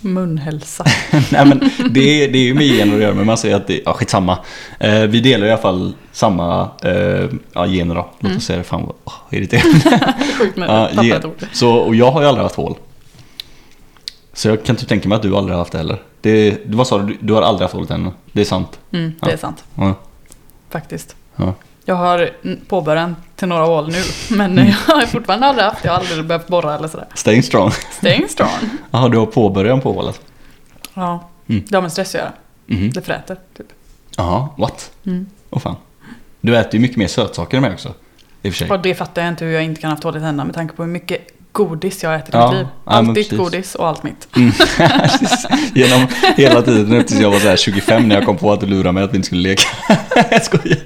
A: Munhälsa. [LAUGHS]
B: [LAUGHS] Nej men det, är- det är ju med gener att göra men man säger att det, ja skitsamma. Eh, vi delar i alla fall samma eh, ja, gener då. Låt oss säga det, fan vad åh, irriterande.
A: Sjukt med
B: Ja,
A: tappade
B: gen-
A: ett ord.
B: Så, och jag har ju aldrig haft hål. Så jag kan inte tänka mig att du aldrig har haft det heller. Det, du- vad sa du? Du- Du har aldrig haft hålet ännu? Det är sant?
A: Mm, det är sant,
B: Ja.
A: faktiskt.
B: ja.
A: Jag har mm, påbörjat till några hål nu, [LAUGHS] men jag har fortfarande aldrig haft, jag har aldrig behövt borra eller sådär.
B: Staying strong. [LAUGHS]
A: Staying strong.
B: Jaha, du har påbörjan på hålet?
A: Ja,
B: Mm.
A: det har med stress att göra.
B: Mhm.
A: Det fräter, typ.
B: Jaha, what?
A: Mm.
B: Åh fan. Du äter ju mycket mer sötsaker än mig också. I och för sig.
A: Och det fattar jag inte hur jag inte kan ha haft hål i tänderna med tanke på hur mycket godis jag har ätit i
B: Ja,
A: mitt liv.
B: ja, men
A: Allt ditt
B: precis. Mm.
A: godis och allt mitt.
B: [LAUGHS] Genom hela tiden upp tills jag var så här 25 när jag kom på att du lurade mig att vi inte skulle leka. [LAUGHS] jag skojar.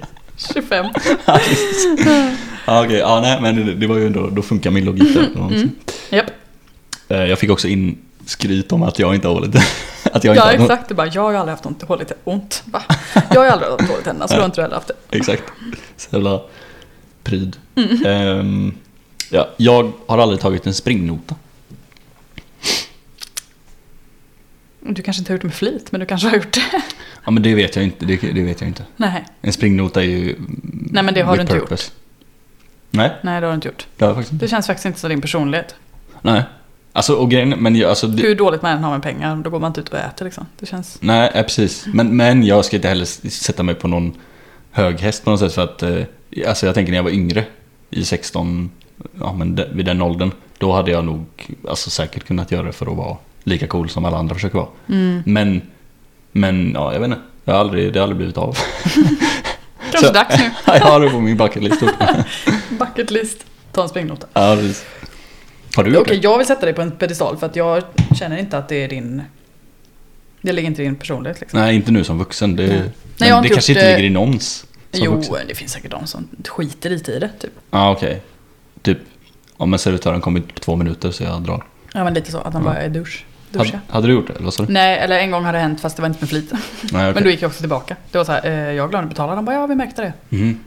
A: 25.
B: Ja, okej. Ja, nej, men det- det var ju ändå, då funkar min logik där.
A: Mm.
B: på något sätt.
A: Japp.
B: Eh, Jag fick också in skryt om att jag inte har hållit. [LAUGHS] att jag inte
A: Ja,
B: har något-
A: exakt. Det är bara, jag har ju aldrig haft ont, hål i tä- ont. Va? Jag har ju aldrig haft hål i tänderna, så då har inte du heller haft det.
B: [LAUGHS] Exakt. Så jävla pryd.
A: Mm.
B: Ehm, ja, jag har aldrig tagit en springnota.
A: Du kanske inte har gjort det med flit, men du kanske har gjort det. [LAUGHS]
B: Ja, men det vet jag inte. Det, det vet jag inte.
A: Nej,
B: En springnota är ju...
A: Nej, men det har du inte gjort.
B: gjort. Nej,
A: nej det har du inte gjort.
B: det har jag faktiskt inte.
A: Det känns faktiskt inte som din personlighet.
B: Nej. Alltså, och grejen, men jag, alltså, det,
A: Hur dåligt man än har med pengar, då går man inte ut och äter liksom. Det känns...
B: Nej, ja, precis. Men, men jag ska inte heller s- sätta mig på någon hög häst på något sätt. För att, eh, alltså jag tänker när jag var yngre, i 16, ja, men de, vid den åldern, då hade jag nog alltså, säkert kunnat göra det för att vara lika cool som alla andra försöker vara.
A: Mm.
B: Men, men ja, jag vet inte. Jag har aldrig, det har aldrig blivit av. [LAUGHS]
A: Kanske
B: Så-
A: dags nu.
B: jag har det på min bucket list.
A: [LAUGHS] Bucket list. Ta en springnota.
B: Ja, precis. har du
A: Okej,
B: gjort det?
A: jag vill sätta dig på en pedestal för att jag känner inte att det är din... Det ligger inte i din personlighet liksom.
B: Nej, inte nu som vuxen. Det,
A: Nej.
B: men
A: Nej, jag har
B: det
A: inte
B: kanske
A: gjort
B: inte
A: det.
B: ligger i någons. Som
A: jo,
B: vuxen.
A: det finns säkert de som skiter lite i det typ.
B: Ja, okej. Typ, om en servitören kommer på två minuter så jag drar.
A: Ja, men lite så. Att man bara är dusch. Duscha.
B: Hade, hade du gjort det? Eller vad sa du?
A: Nej, eller en gång har det hänt fast det var inte med flit.
B: Nej,
A: Men
B: okej.
A: då gick jag också tillbaka. Det var så här, eh, jag glömde betala. De bara, ja vi märkte det.
B: Mhm.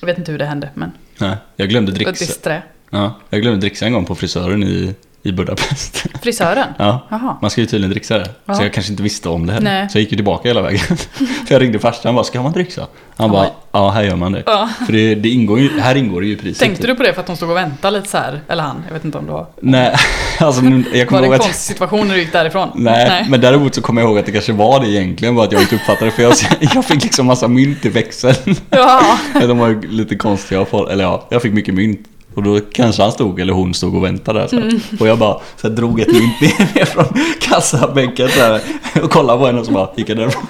A: Jag vet inte hur det hände, men
B: Nej, jag glömde
A: det var
B: dricksa.
A: disträ.
B: Ja, jag glömde dricksa en gång på frisören i, i Budapest. [LAUGHS]
A: Frisören?
B: Ja.
A: Jaha.
B: Man ska ju tydligen dricksa det.
A: Ja.
B: Så jag kanske inte visste om det heller.
A: Nej.
B: Så jag gick ju tillbaka hela vägen. [LAUGHS] För jag ringde farsan och bara, ska man dricksa? Han
A: Ja,
B: bara,
A: men-
B: ja här gör man det.
A: Ja.
B: För det, det ingår ju, här ingår det ju i priset. typ.
A: Tänkte du på det för att de stod och väntade lite så här? Eller han, jag vet inte om det var.
B: Nej, [LAUGHS] alltså nu, jag
A: Var
B: kommer
A: det en
B: ihåg
A: konstig
B: att...
A: situation när du gick därifrån?
B: Nej, men däremot så kommer jag ihåg att det kanske var det egentligen, bara att jag inte uppfattade det. För jag, jag [LAUGHS] fick liksom massa mynt i växeln.
A: [LAUGHS] Ja.
B: Men De var ju lite konstiga folk, eller ja, jag fick mycket mynt. Och då kanske han stod, eller hon stod och väntade där så här. Och jag bara så här, drog ett mynt ner från kassabänken så här, och kollade på henne och så bara gick jag därifrån.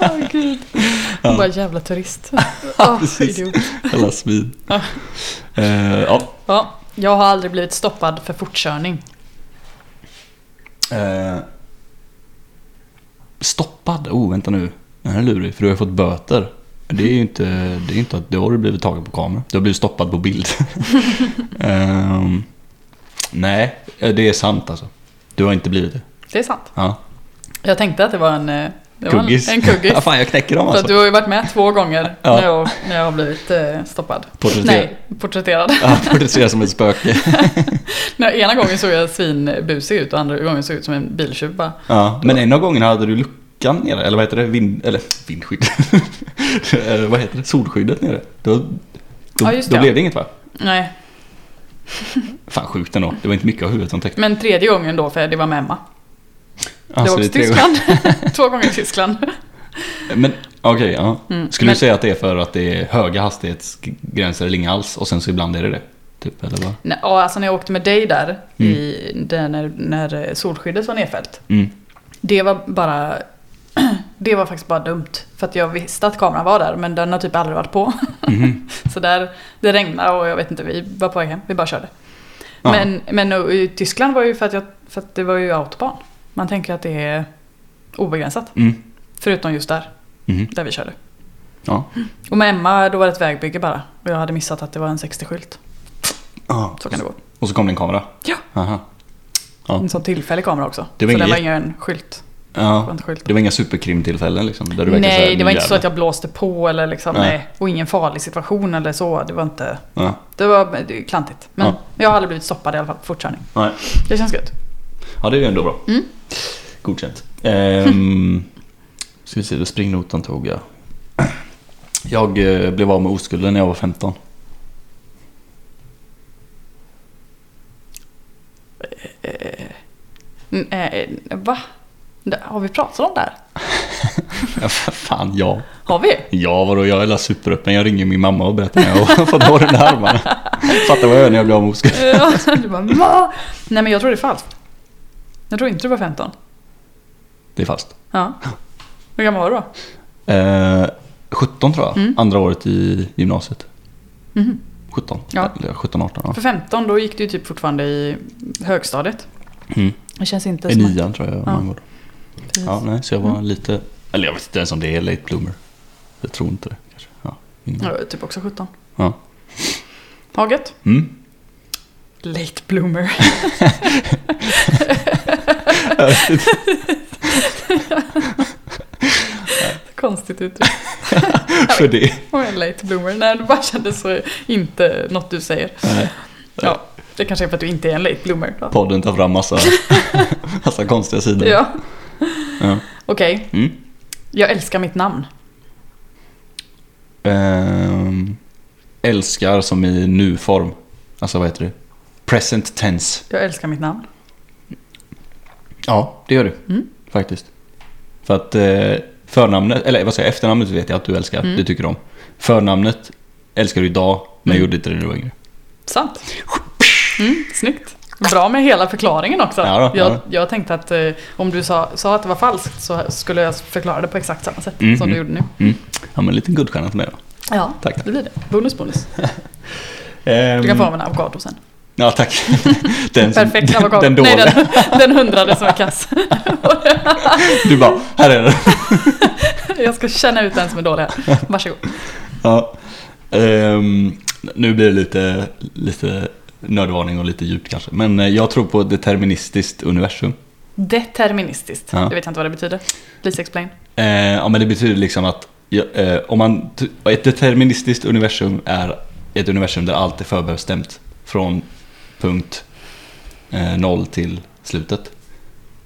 A: Åh gud. Hon bara, jävla turist.
B: [LAUGHS] Ja,
A: Åh,
B: precis.
A: idiot.
B: Jävla svin.
A: Ja.
B: Eh, ja.
A: Ja, jag har aldrig blivit stoppad för fortkörning.
B: Eh, stoppad? Oh, vänta nu. Den här är lurig, för du har ju fått böter. Det är ju inte, det är inte att då har du blivit tagen på kamera. Du har blivit stoppad på bild. Ehm, nej, det är sant alltså. Du har inte blivit det.
A: Det är sant.
B: Ja.
A: Jag tänkte att det var en... eh, Det var en-
B: Kuggis.
A: En kuggis.
B: [LAUGHS] Ja, fan, jag knäcker dem
A: För att
B: alltså.
A: du har ju varit med två gånger
B: Ja.
A: när, jag, när jag har blivit eh, stoppad.
B: Porträtterad.
A: Nej, porträtterad. [LAUGHS]
B: Ja, porträtteras som ett spöke.
A: Nej, ena gången såg jag svinbusig ut och andra gången såg jag ut som en biltjuv bara.
B: Ja, men en av gångerna hade du luckan nere, eller vad heter det? Vind, eller vindskydd. [LAUGHS] Eller vad heter det? Solskyddet nere. Då, då,
A: Ja, just det,
B: då
A: ja.
B: blev det inget va?
A: Nej,
B: Fan sjukt ändå. Det var inte mycket av huvudet som täckte.
A: men tredje gången då, för det var med Emma.
B: Ja,
A: det
B: så
A: var också
B: tre gånger.
A: Tyskland. [LAUGHS] Två gånger i Tyskland.
B: [LAUGHS] Men okej, ja.
A: Mm,
B: Skulle
A: men-
B: du säga att det är för att det är höga hastighetsgränser eller inga alls och sen så ibland är det det? Typ, eller vad?
A: Nej, ja, alltså när jag åkte med dig där,
B: Mm.
A: i, där när, när solskyddet var nedfällt.
B: Mm.
A: Det var bara... [CLEARS THROAT] Det var faktiskt bara dumt. För att jag visste att kameran var där, men den har typ aldrig varit på.
B: Mhm.
A: [LAUGHS] Så där, det regnade och jag vet inte, vi var på väg hem. Vi bara körde.
B: Ja.
A: Men, men och i Tyskland var ju för att, jag, för att det var ju autobahn. Man tänker att det är obegränsat.
B: Mm.
A: Förutom just där.
B: Mhm.
A: där vi körde.
B: Ja.
A: Och med Emma, då var det ett vägbygge bara. Och jag hade missat att det var en 60-skylt.
B: Ah.
A: Så kan det gå.
B: Och så kom det en kamera.
A: Ja.
B: Aha. Ja.
A: En sån tillfällig kamera också.
B: Det var
A: så
B: ingen
A: det var ingen skylt.
B: Ja.
A: Inte skylt.
B: Det var inga superkrimtillfällen liksom? Där du verkligen så här,
A: Nej,
B: "Nu
A: det var inte så
B: jävlar."
A: att jag blåste på eller liksom,
B: Nej.
A: nej. Och ingen farlig situation eller så. Det var inte...
B: Ja.
A: Det var det är klantigt. Men
B: Ja.
A: jag har aldrig blivit stoppad i alla fall på fortkörning.
B: Nej.
A: Det känns gött.
B: Ja, det är ju ändå bra.
A: Mm.
B: Godkänt. Ehm, [LAUGHS] ska vi se, då springnotan tog jag. Jag eh, blev av med oskulden när jag var 15.
A: Mm, eh, va? Det- Har vi pratat om det här?
B: [LAUGHS] Ja, för fan, ja.
A: Har
B: [LAUGHS]
A: vi?
B: Ja, vadå, jag är hela superöppen. Jag ringer min mamma och berättar när jag har [LAUGHS] fått håren i armarna. Fattar vad jag gör när jag blir av med oskulden.
A: Ja, du bara, va? Nej men jag tror det är falskt. Jag tror inte du var 15.
B: Det är fast.
A: Ja. Hur gammal var du då?
B: Eh, 17 tror jag.
A: Mm.
B: Andra året i gymnasiet.
A: Mhm.
B: 17.
A: Ja.
B: Eller 17, 18. Ja.
A: För 15 då gick du ju typ fortfarande i högstadiet.
B: Mm.
A: Det känns inte
B: I
A: som... att-
B: nian tror jag man går.
A: precis.
B: Ja, nej, så jag var
A: Mm.
B: lite... Eller jag vet inte ens om det är late bloomer. Jag tror inte det. Kanske. Ja,
A: Ja,
B: innan.
A: jag är typ också 17.
B: Ja.
A: Haget?
B: Mm. [LAUGHS]
A: Late bloomer. [LAUGHS] Konstigt uttryck.
B: För det.
A: Och en late bloomer. Nej, det bara kändes så inte något du säger.
B: Nej.
A: Ja, det kanske är för att du inte är en late bloomer. Då.
B: Podden tar
A: [LAUGHS]
B: fram massa, massa konstiga sidor.
A: Ja,
B: Ja.
A: okej.
B: Mm.
A: Jag älskar mitt namn.
B: Ehm, älskar som i nu-form. Alltså vad heter det? Present tense.
A: Jag älskar mitt namn.
B: Ja, det gör du.
A: Mm.
B: Faktiskt. För att eh, förnamnet, eller vad säger jag, efternamnet vet jag att du älskar.
A: Mm.
B: Det tycker du om. Förnamnet älskar du idag, men
A: Mm.
B: gjorde inte det när du var yngre.
A: Sant. Mm, snyggt. Bra med hela förklaringen också.
B: Ja då, ja
A: jag,
B: då.
A: jag tänkte att eh, om du sa, sa att det var falskt så skulle jag förklara det på exakt samma sätt
B: Mm,
A: som du
B: mm.
A: gjorde nu.
B: Ja, men en liten guldstjärna till mig då.
A: Ja,
B: Tack, tack.
A: det blir det. Bonus, bonus.
B: Ehm,
A: Du kan få av en avokado sen. [LAUGHS]
B: Ja, tack. den, som-
A: Perfekt avokado.
B: den, den dåliga.
A: Nej, den, den hundrade som var kass. [LAUGHS]
B: Du bara, här är den.
A: Jag ska känna ut den som är dålig här. Varsågod.
B: Ja. Ehm, nu blir det lite, lite nördvarning och lite djupt kanske. Men eh, jag tror på ett deterministiskt universum.
A: Deterministiskt.
B: Ja.
A: Det vet jag inte vad det betyder. Please explain.
B: Eh, ja, men det betyder liksom att ja, eh, om man, t- ett deterministiskt universum är ett universum där allt är förbestämt. Från punkt eh, noll till slutet.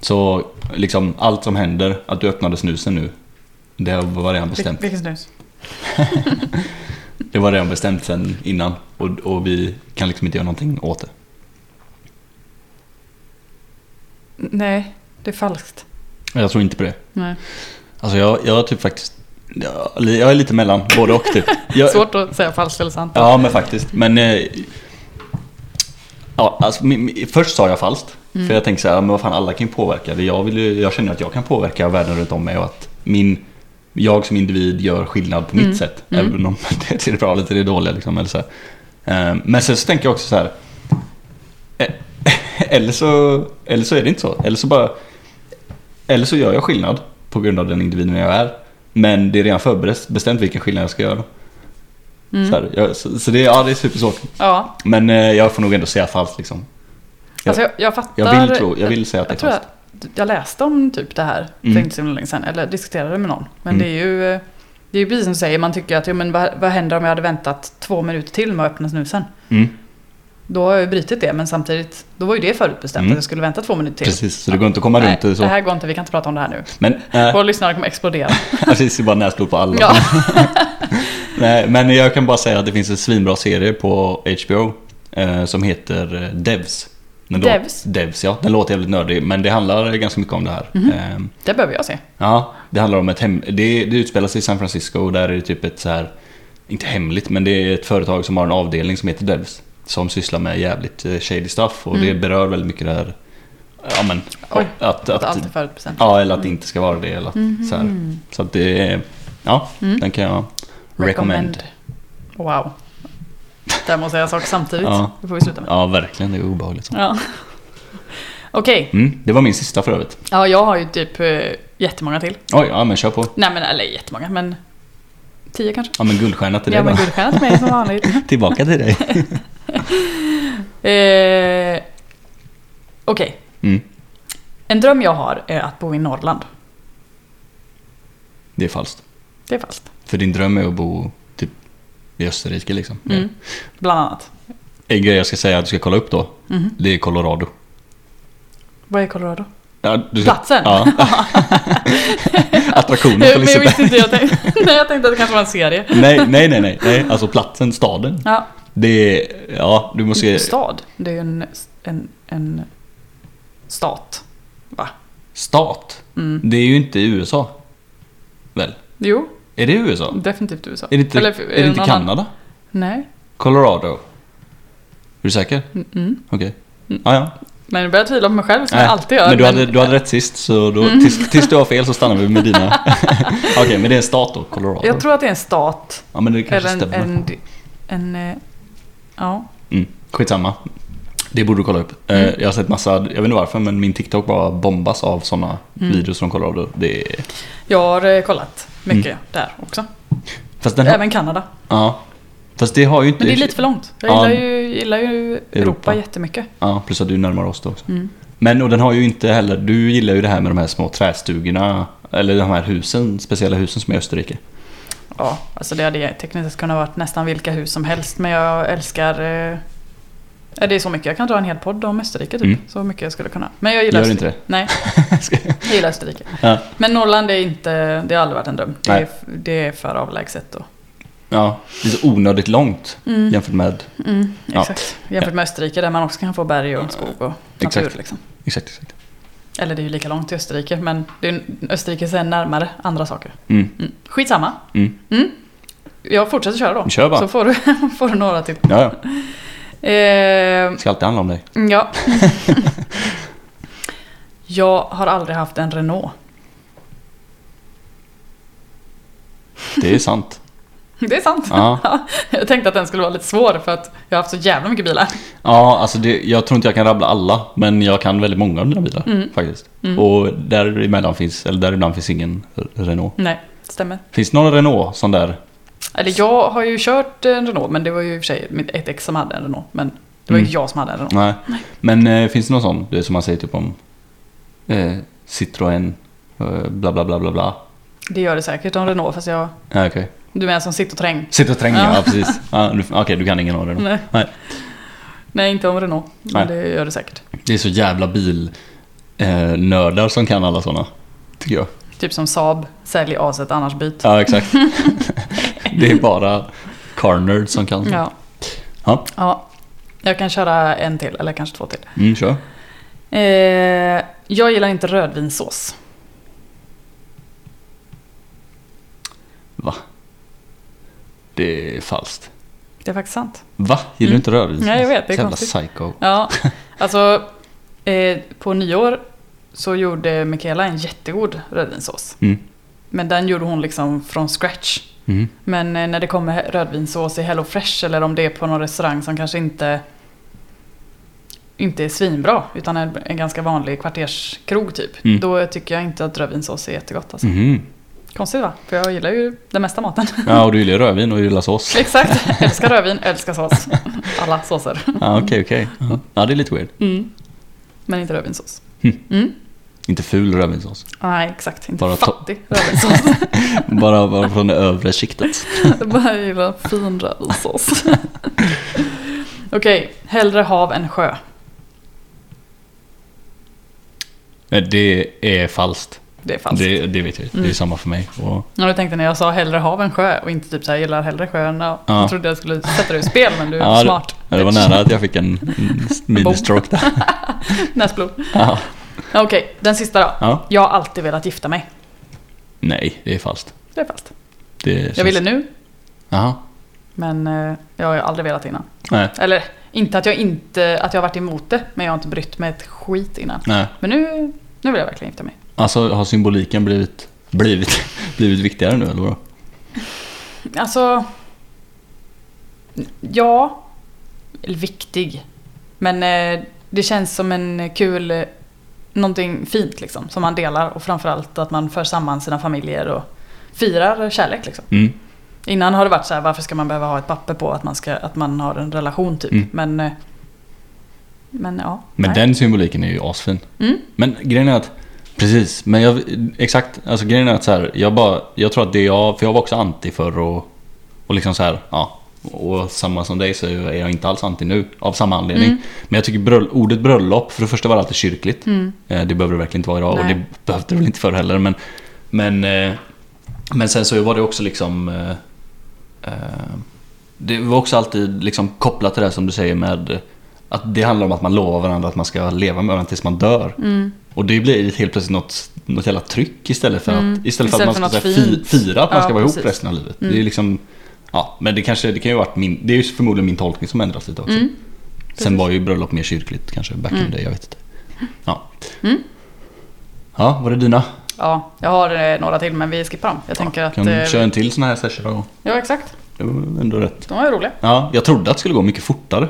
B: Så liksom allt som händer, att du öppnade snusen nu, det var redan bestämt.
A: Vil- Vilken snus?
B: Det var redan bestämt sen innan och, och vi kan liksom inte göra någonting åt det.
A: N- Nej, det är falskt.
B: Jag tror inte på det.
A: Nej.
B: Alltså jag, jag har typ faktiskt... Jag, jag är lite mellan både och [LAUGHS] typ. Jag,
A: Svårt att säga falskt eller sant.
B: Ja men faktiskt. Men... Eh, ja, alltså, min, min, först sa jag falskt. För jag tänkte så här, ja, men vad fan alla kan ju påverka. Det Jag, vill ju, jag känner att jag kan påverka världen runt om mig och att min... Jag som individ gör skillnad på mitt sätt.
A: Mm.
B: Även om [LAUGHS] det är till det bra eller till det dåliga liksom. Eller så här. Eh, Men sen så tänker jag också så här. eh, [LAUGHS] Eller så, eller så är det inte så. Eller så bara... Eller så gör jag skillnad på grund av den individen jag är. Men det är redan förbestämt vilken skillnad jag ska göra.
A: Mm.
B: Så, här, jag, så, så det, ja, det är supersvårt.
A: ja.
B: Men eh, jag får nog ändå säga falskt liksom. Jag-
A: Alltså jag, jag fattar.
B: jag vill tro- jag vill säga att det
A: jag
B: är
A: tror Jag, jag läste om typ det här
B: Mm.
A: för inte så länge sedan, eller diskuterade med någon. Men
B: Mm.
A: det är ju eh, det är ju precis som du säger, man tycker att ja, men vad, vad händer om jag hade väntat två minuter till med att öppna snusen?
B: Mm,
A: Då har jag ju brutit det, men samtidigt, då var ju det förutbestämt
B: Mm.
A: att jag skulle vänta två minuter till.
B: precis, så det går inte att komma
A: Nej,
B: runt det så.
A: det här går inte, vi kan inte prata om det här nu.
B: Men, äh,
A: Våra lyssnare kommer explodera.
B: [LAUGHS] precis, det är bara näsblod på alla.
A: Ja.
B: Nej, men jag kan bara säga att det finns en svinbra serie på HBO eh, som heter eh, Devs. Den lå-
A: Devs?
B: Devs, ja. Den låter jävligt nördig, men det handlar ganska mycket om det här.
A: Mhm.
B: Eh,
A: Det behöver jag se.
B: Ja, det handlar om ett hem... Det, det utspelar sig i San Francisco och där är det typ ett så här... Inte hemligt, men det är ett företag som har en avdelning som heter Devs. Som sysslar med jävligt eh, shady stuff och det berör väldigt mycket det här... Ja men...
A: Mm. Oj,
B: att,
A: Att allt Mhm. är
B: att,
A: förutbestämt.
B: ja, eller att det inte ska vara det. Eller att, så, här. så att det är... Ja,
A: Mm.
B: den kan jag... Recommend.
A: Wow. Där måste jag säga saker samtidigt.
B: Ja.
A: Det får vi sluta med.
B: Ja, verkligen. Det är obehagligt.
A: Ja. Okej,
B: Mm, det var min sista för övrigt.
A: ja jag har ju typ eh, jättemånga till.
B: Oj, ja men kör på.
A: Nej men eller jättemånga, men tio kanske.
B: Ja men guldstjärna till dig
A: Ja men
B: då.
A: guldstjärna till mig som vanligt.
B: [LAUGHS] Tillbaka till dig.
A: Eh, Okej,
B: Mm,
A: en dröm jag har är att bo i Norrland.
B: det är falskt.
A: Det är falskt.
B: För din dröm är att bo typ i Österrike liksom.
A: Mm. Bland annat.
B: En grej jag ska säga att du ska kolla upp då,
A: Mhm.
B: det är Colorado.
A: Vad är Colorado?
B: Ja, du ska,
A: Platsen?
B: Ja.
A: [LAUGHS]
B: Attraktionen
A: Eh, [LAUGHS] men
B: på
A: jag
B: Liseberg.
A: visste inte, jag tänkte, [LAUGHS] nej, jag tänkte att det kanske var en serie.
B: Nej, nej, nej, nej, nej. Alltså platsen, staden.
A: Ja,
B: Det är, ja, du måste...
A: stad. Det är ju en, en, en stat. Va?
B: Stat.
A: Mm.
B: Det är ju inte i USA. Väl?
A: Jo,
B: Är det i USA?
A: definitivt USA.
B: Är det inte,
A: Eller,
B: är det inte
A: någon annan-
B: Kanada?
A: Nej.
B: Colorado? Är du säker?
A: Mm-mm.
B: Okej. Ja, ja.
A: Men nu börjar jag tvivla på mig själv som
B: Nej,
A: jag alltid gör. Mm.
B: Men du hade, du hade rätt sist, så då, tills, tills du har fel så stannar vi
A: [LAUGHS]
B: med dina. Okej, men det är en stat då, Colorado.
A: Jag tror att det är en stat.
B: ja, men det kanske
A: Eller en,
B: stämmer.
A: en, en, eh, Ja.
B: Mm, skitsamma. Det borde du kolla upp.
A: Mm.
B: Eh, Jag har sett massa, jag vet inte varför, men min TikTok bara bombas av sådana
A: Mm.
B: videos från Colorado. Det är...
A: Jag har eh, kollat mycket där också.
B: Fast Mm. den har...
A: Även Kanada.
B: Ja. Fast det har ju inte...
A: Men det är lite för långt. Jag
B: Ja.
A: gillar ju, gillar ju Europa.
B: Europa.
A: jättemycket.
B: Ja, plus att du närmar oss då också. Men och den har ju inte heller, du gillar ju det här med de här små trästugorna, eller de här husen, speciella husen som är i Österrike.
A: Ja, alltså det hade tekniskt sett kunnat varit nästan vilka hus som helst. Men jag älskar... Eh, ja, det är så mycket. Jag kan dra en hel podd om Österrike typ.
B: Mm.
A: Så mycket jag skulle kunna. Men jag gillar
B: Gör
A: Österrike.
B: inte det? [LAUGHS]
A: Nej, jag gillar Österrike.
B: Ja.
A: Men Norrland är inte... Det har aldrig varit en dröm. Det,
B: Nej.
A: är, det är för avlägset då.
B: ja, det är så onödigt långt
A: Mm.
B: jämfört med... Ja.
A: Exakt. Jämfört med Österrike där man också kan få berg och skog och natur
B: Exakt.
A: liksom.
B: Exakt, exakt.
A: Eller det är ju lika långt till Österrike, men det är, ju- Österrike är sen närmare andra saker.
B: Mm.
A: Mm. Skitsamma.
B: Mm.
A: Jag fortsätter köra då.
B: Kör bara.
A: Så får du, [LAUGHS] får du några till.
B: Ja, ja.
A: Eh,
B: Det ska alltid handla om dig. [LAUGHS]
A: ja. jag har aldrig haft en Renault.
B: Det är sant.
A: Det är sant.
B: Ja.
A: jag tänkte att den skulle vara lite svår för att jag har haft så jävla mycket bilar.
B: Ja, alltså det, jag tror inte jag kan rabbla alla, men jag kan väldigt många av dina bilar
A: Mm.
B: faktiskt. Och däremellan finns, eller däribland finns ingen Renault.
A: Nej, stämmer.
B: Finns det någon Renault sån där?
A: Eller jag har ju kört en Renault, men det var ju i och för sig mitt- ett ex som hade en Renault. Men det var ju
B: Mm.
A: jag som hade en Renault.
B: Nej. Men eh, finns det någon sån, det som man säger typ om eh, Citroën, eh, bla bla bla bla bla?
A: Det gör det säkert om Renault, fast jag...
B: Ja, okej.
A: Du menar som sitter och träng?
B: Sitt och träng, ja,
A: Ja.
B: precis. Ja, du- Okej, du kan ingen av Renault.
A: Nej.
B: Nej.
A: Nej, inte om Renault. Men
B: Nej.
A: det gör det säkert.
B: Det är så jävla bilnördar som kan alla såna. Tycker jag.
A: Typ som Saab, sälj aset annars byt.
B: Ja, exakt. [LAUGHS] det är bara car nerds som kan.
A: Ja.
B: Mm. Ja.
A: ja. Jag kan köra en till, eller kanske två till.
B: Mm, kör.
A: Eh, jag gillar inte rödvinssås.
B: Va? Det är falskt.
A: Det är faktiskt sant.
B: Va? Gillar du inte rödvin?
A: Mm. Nej, jag vet, det är
B: Jävla
A: konstigt.
B: psycho.
A: Ja, alltså eh, på nyår så gjorde Michaela en jättegod rödvinssås.
B: Mm.
A: Men den gjorde hon liksom från scratch.
B: Mm.
A: Men eh, när det kommer rödvinssås i Hello Fresh eller om det är på någon restaurang som kanske inte inte är svinbra utan en, en ganska vanlig kvarterskrog typ.
B: Mm.
A: Då tycker jag inte att rödvinssås är jättegott alltså.
B: Mhm.
A: Konstigt va? För jag gillar ju den mesta
B: [LAUGHS]
A: maten.
B: Ja, och du gillar ju rödvin och
A: [LAUGHS]
B: gillar sås.
A: Exakt, älskar rödvin, älskar
B: [LAUGHS]
A: sås. Alla såser.
B: Ja, okej, okej. Ja. Ja, det är lite weird.
A: Mm. Men inte rödvinssås.
B: Hm.
A: Mm.
B: Inte ful rödvinssås.
A: Nej exakt, inte
B: Bara to-
A: fattig rödvinssås. [LAUGHS]
B: Bara, bara från det övre skiktet.
A: Jag bara gillar fin rödvinssås. [LAUGHS] Okej, hellre hav än sjö.
B: Men Det är falskt.
A: Det är falskt. Mm.
B: Det, det vet jag. Det är samma för mig. Och,
A: Ja, du tänkte när jag sa hellre hav än sjö och inte typ så här gillar hellre sjön. Ja. Jag trodde jag skulle sätta dig ur spel men du är
B: Ja, det-
A: smart. [LAUGHS]
B: ja, det var nära att jag fick [LAUGHS] en en mini-stroke där.
A: Näsblod.
B: Ja.
A: Okej, den sista då.
B: Ja.
A: Jag har alltid velat gifta mig.
B: Nej, det är falskt.
A: Det är fast.
B: Det känns...
A: Jag ville nu,
B: Jaha.
A: men eh, jag har ju aldrig velat innan.
B: Nej.
A: Eller inte att jag inte, att jag har varit emot det, men jag har inte brytt mig ett skit innan.
B: Nej.
A: Men nu, nu vill jag verkligen gifta mig.
B: Alltså, har symboliken blivit, blivit, [LAUGHS] blivit viktigare nu eller vadå?
A: Alltså... Ja. Eller viktig. Men eh, det känns som en kul, eh, någonting fint liksom, som man delar och framförallt att man för samman sina familjer och firar kärlek liksom.
B: Mm.
A: Innan har det varit så här, varför ska man behöva ha ett papper på att man, ska, att man har en relation typ.
B: Mm.
A: Men, eh, men ja.
B: Men
A: nej.
B: den symboliken är ju asfin.
A: Mm.
B: Men grejen är att Precis, men jag, exakt. Alltså grejen är att så här, jag bara, jag tror att det jag, för jag var också anti förr och, och liksom så här, ja. Och samma som dig så är jag inte alls anti nu av samma anledning.
A: Mm.
B: Men jag tycker bröll, ordet bröllop, för det första var det alltid kyrkligt.
A: Mm.
B: Eh, Det behöver det verkligen inte vara idag och
A: Nej.
B: det behövde det väl inte förr heller. Men, men, eh, men sen så var det också liksom eh, eh, Det var också alltid liksom kopplat till det här som du säger med att det handlar om att man lovar varandra att man ska leva med varandra tills man dör.
A: Mm.
B: Och det blir helt plötsligt något, något jävla tryck istället för att, istället för
A: Mm. Istället
B: att man
A: för
B: ska
A: något
B: så här fi-
A: fint.
B: fira att man
A: Ja,
B: ska vara
A: precis. Mm.
B: ihop resten av livet. Det är liksom Ja, men det kanske det kan ju ha varit min, det är ju förmodligen min tolkning som ändras lite också. Sen
A: precis.
B: var ju bröllop mer kyrkligt kanske back in the day, jag vet inte. Ja. Ja, var det dina?
A: Ja, jag har eh, några till men vi skippar dem. Jag tänker att...
B: Kan
A: eh,
B: du köra en till sån här session någon gång?
A: Ja, exakt.
B: Det var ändå rätt.
A: De var ju roliga.
B: Ja, jag trodde att det skulle gå mycket fortare.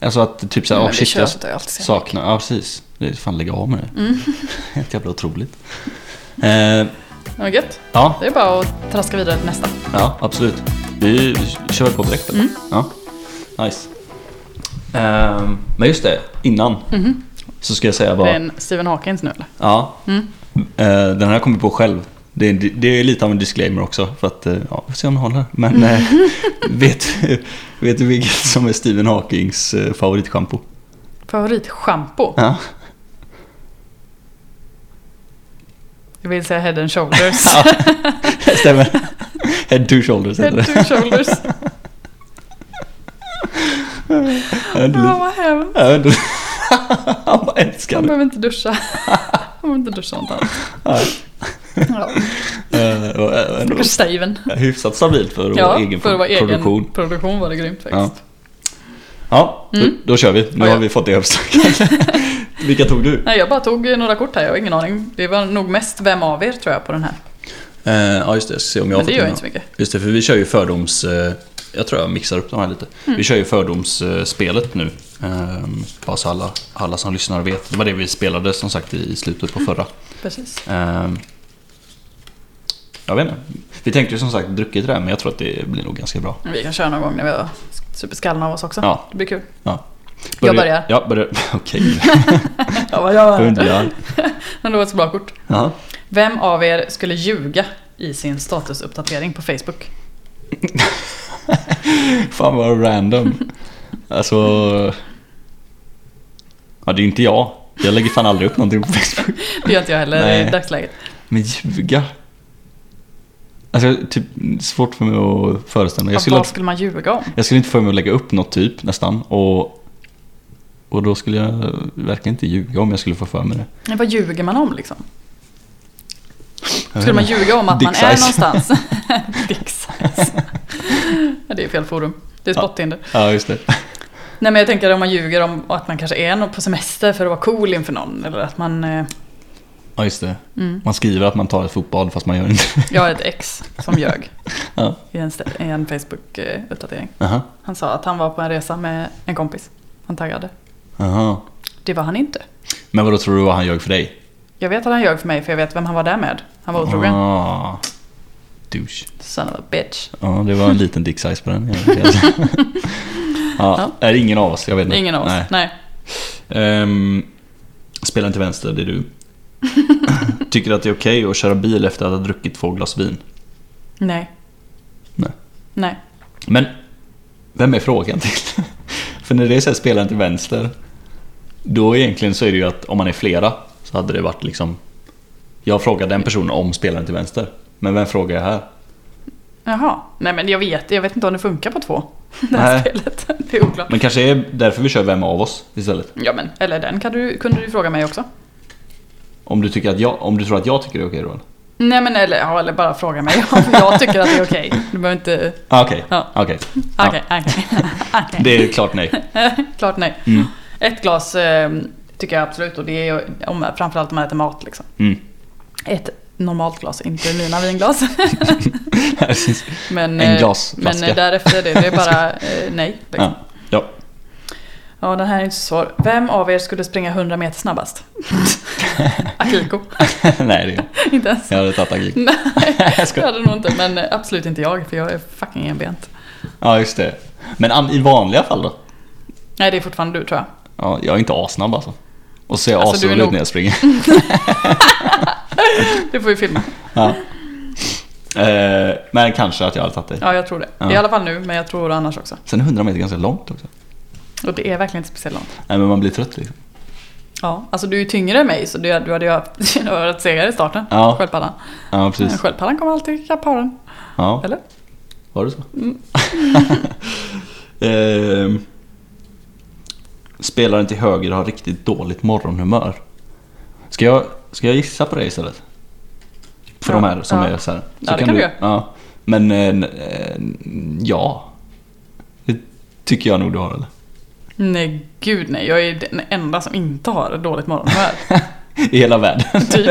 B: Alltså att typ såhär,
A: Mm, Men
B: ja
A: vi
B: shit jag
A: tjötar ju alltid så jävla
B: saknar, ja precis. Det är fan lägga av med det. [LAUGHS] Helt jävla otroligt. Eh,
A: mycket. Det var gött.
B: ja,
A: Det är bara att traska vidare till nästa.
B: ja absolut. Vi vi kör väl på direkt
A: Mm.
B: eller? Ja, nice. Ehm, men just det, innan.
A: Mm-hmm.
B: Så ska jag säga
A: Det
B: bara.
A: är en Stephen Hawkins nu eller?
B: Ja.
A: Mm.
B: Eh, Den här har jag kommit på själv. Det är, det är lite av en disclaimer också. För att, eh, ja, vi får se om den håller. Men
A: Mm.
B: eh, [LAUGHS] vet, vet du vilket som är Stephen Hawkings eh, favoritschampo?
A: Favoritschampo?
B: Ja.
A: Jag vill säga head and shoulders.
B: [LAUGHS] Ja, Stämmer. [LAUGHS] Head to shoulders heter
A: head
B: det.
A: to
B: [LAUGHS]
A: shoulders.
B: Ja, det är
A: Ja,
B: lite-
A: vad hemskt.
B: ja, [LAUGHS] det- Han bara älskar
A: Han
B: det.
A: behöver inte
B: [LAUGHS]
A: duscha. Han behöver inte duscha något annat.
B: Ja.
A: Ja.
B: Eh, och, eh, ändå
A: Stackars Steven.
B: Hyfsat stabilt för vår
A: Ja,
B: egen
A: för att vara egen
B: produktion.
A: produktion. produktion var det grymt faktiskt.
B: Ja, då, då kör vi. Nu
A: Mm. Ja, ja.
B: har vi fått det uppstackat. [LAUGHS] Vilka tog du?
A: Nej, jag bara tog några kort här, jag har ingen aning. Det var nog mest vem av er tror jag på den här.
B: Eh, ja just det, jag ska se om jag
A: Men det
B: har fått
A: gör
B: in
A: inte så
B: någon.
A: mycket.
B: Just det, för vi kör ju fördoms... Eh, jag tror jag mixar upp de här lite.
A: Mm.
B: Vi kör ju fördomsspelet nu. Eh, bara så alla, alla som lyssnar vet. Det var det vi spelade som sagt i, i slutet
A: Mm.
B: på förra.
A: Precis.
B: Eh, jag vet inte. Vi tänkte ju som sagt druckit det här men jag tror att det blir nog ganska bra.
A: Men Vi kan köra någon gång när vi är superskallna av oss också.
B: Ja.
A: Det blir kul.
B: Ja.
A: Jag börjar.
B: Ja, börjar. [LAUGHS] Okej.
A: [LAUGHS] Ja, vad gör [LAUGHS]
B: Jag undrar.
A: Men det var ett så bra kort.
B: Ja.
A: Vem av er skulle ljuga i sin statusuppdatering på Facebook?
B: Fan vad random. Alltså... Ja, det är ju inte jag. Jag lägger fan aldrig upp någonting på Facebook.
A: Det gör inte jag heller
B: Nej.
A: i dagsläget.
B: Men ljuga? Alltså typ svårt för mig att föreställa mig. Jag
A: Vad
B: skulle,
A: skulle... skulle man ljuga om?
B: jag skulle inte få mig att lägga upp något typ nästan och, och då skulle jag verkligen inte ljuga om jag skulle få för mig det.
A: Nej, Vad ljuger man om liksom?
B: Jag
A: Skulle
B: vet
A: man
B: inte.
A: ljuga om att
B: Dick
A: man är
B: size.
A: någonstans?
B: [LAUGHS]
A: [LAUGHS] Dick size. Ja, det är fel forum. Det är
B: Ja.
A: Spottinder.
B: Ja just det.
A: Nej men jag tänker om man ljuger om att man kanske är någon på semester för att vara cool inför någon. Eller att man eh, mm.
B: Ja, just det. Man skriver att man tar ett fotbad fast man gör inte det.
A: Jag har ett ex som ljög
B: [LAUGHS] Ja.
A: i en, stä- i en Facebook-uppdatering.
B: Aha.
A: Han sa att han var på en resa med en kompis. Han taggade.
B: Aha.
A: Det var han inte.
B: Men vadå tror du att han ljög för dig?
A: Jag vet att han ljög för mig för jag vet vem han var där med. Han var otrogen.
B: Ah. Douche.
A: Son of a bitch.
B: Ja, det var en liten dick size på den.
A: [LAUGHS]
B: ja, Är det ingen av oss? Jag vet inte.
A: Ingen av oss.
B: Nej.
A: Nej.
B: Ehm, spela inte vänster, det
A: [LAUGHS]
B: är du. Tycker att det är okej att köra bil efter att ha druckit två glas vin?
A: Nej.
B: Nej.
A: Nej.
B: Men, vem är frågan till? [LAUGHS] För när det är så här, spela inte vänster, då egentligen så är det ju att om man är flera så hade det varit liksom... Jag frågar den personen om spelaren till vänster, men vem frågar jag här?
A: Jaha. Nej men jag vet, jag vet inte om det funkar på två. [LAUGHS] Det här
B: Nej.
A: spelet. Det är oklart.
B: Men kanske är därför vi kör vem av oss istället?
A: Ja men, eller den kan du, kunde du fråga mig också.
B: Om du, tycker att jag, om du tror att jag tycker det är okej då? eller?
A: Nej men eller, ja, eller bara fråga mig om [LAUGHS] jag tycker att det är okej. Du behöver inte...
B: Ah, okej,
A: Ja.
B: okej. Ja,
A: Okej, okej. [LAUGHS] Okej.
B: Det är klart nej.
A: [LAUGHS] Klart nej.
B: Mm.
A: Ett glas eh, tycker jag absolut och det är ju om, framförallt om man äter mat liksom.
B: Mm.
A: Ett normalt glas, inte mina vinglas. men,
B: En
A: eh,
B: glasflaska. [LAUGHS]
A: Men eh, därefter det, det är bara eh, nej. Liksom.
B: Ja. [LAUGHS]
A: Ja.
B: ja.
A: eh, Ja, den här är inte så svår. Vem av er skulle springa 100 meter
B: [LAUGHS]
A: snabbast? Akiko. [LAUGHS]
B: Nej, det,
A: inte
B: [LAUGHS]
A: ens.
B: jag hade tagit agil.
A: Nej,
B: Jag
A: det
B: skojar.
A: hade nog inte. Men eh, absolut inte jag, för jag är fucking enbent.
B: Ja, just det. Men an- i vanliga fall då?
A: Nej, det är fortfarande du tror jag.
B: Ja, jag är inte assnabb alltså. Och så ser jag
A: Alltså, du är
B: asrolig
A: nog-
B: ut när jag springer. [LAUGHS]
A: Det får vi filma.
B: ja. eh, men kanske att jag hade tagit dig.
A: Ja, jag tror det.
B: Ja.
A: I alla fall nu, men jag tror annars också.
B: Sen är 100 meter ganska långt också.
A: Och det är verkligen inte speciellt långt.
B: Nej, men man blir trött liksom.
A: Ja, alltså du är ju tyngre än mig, så du, du hade ju haft [LAUGHS] du hade varit segare i starten.
B: Ja.
A: Sköldpaddan.
B: Ja,
A: Men
B: precis.
A: Sköldpaddan kommer alltid ikapp haren,
B: Ja,
A: eller?
B: var det så?
A: Mm.
B: [LAUGHS] Ehm, spelaren till höger har riktigt dåligt morgonhumör. Ska jag, ska jag gissa på dig istället? För
A: Ja,
B: de här som
A: ja.
B: är så här. Så
A: Ja, det kan du göra.
B: Ja. Men eh, n- eh, ja. Det tycker jag nog du har eller?
A: Nej, gud nej. Jag är den enda som inte har dåligt morgonhumör.
B: I hela världen.
A: Typ.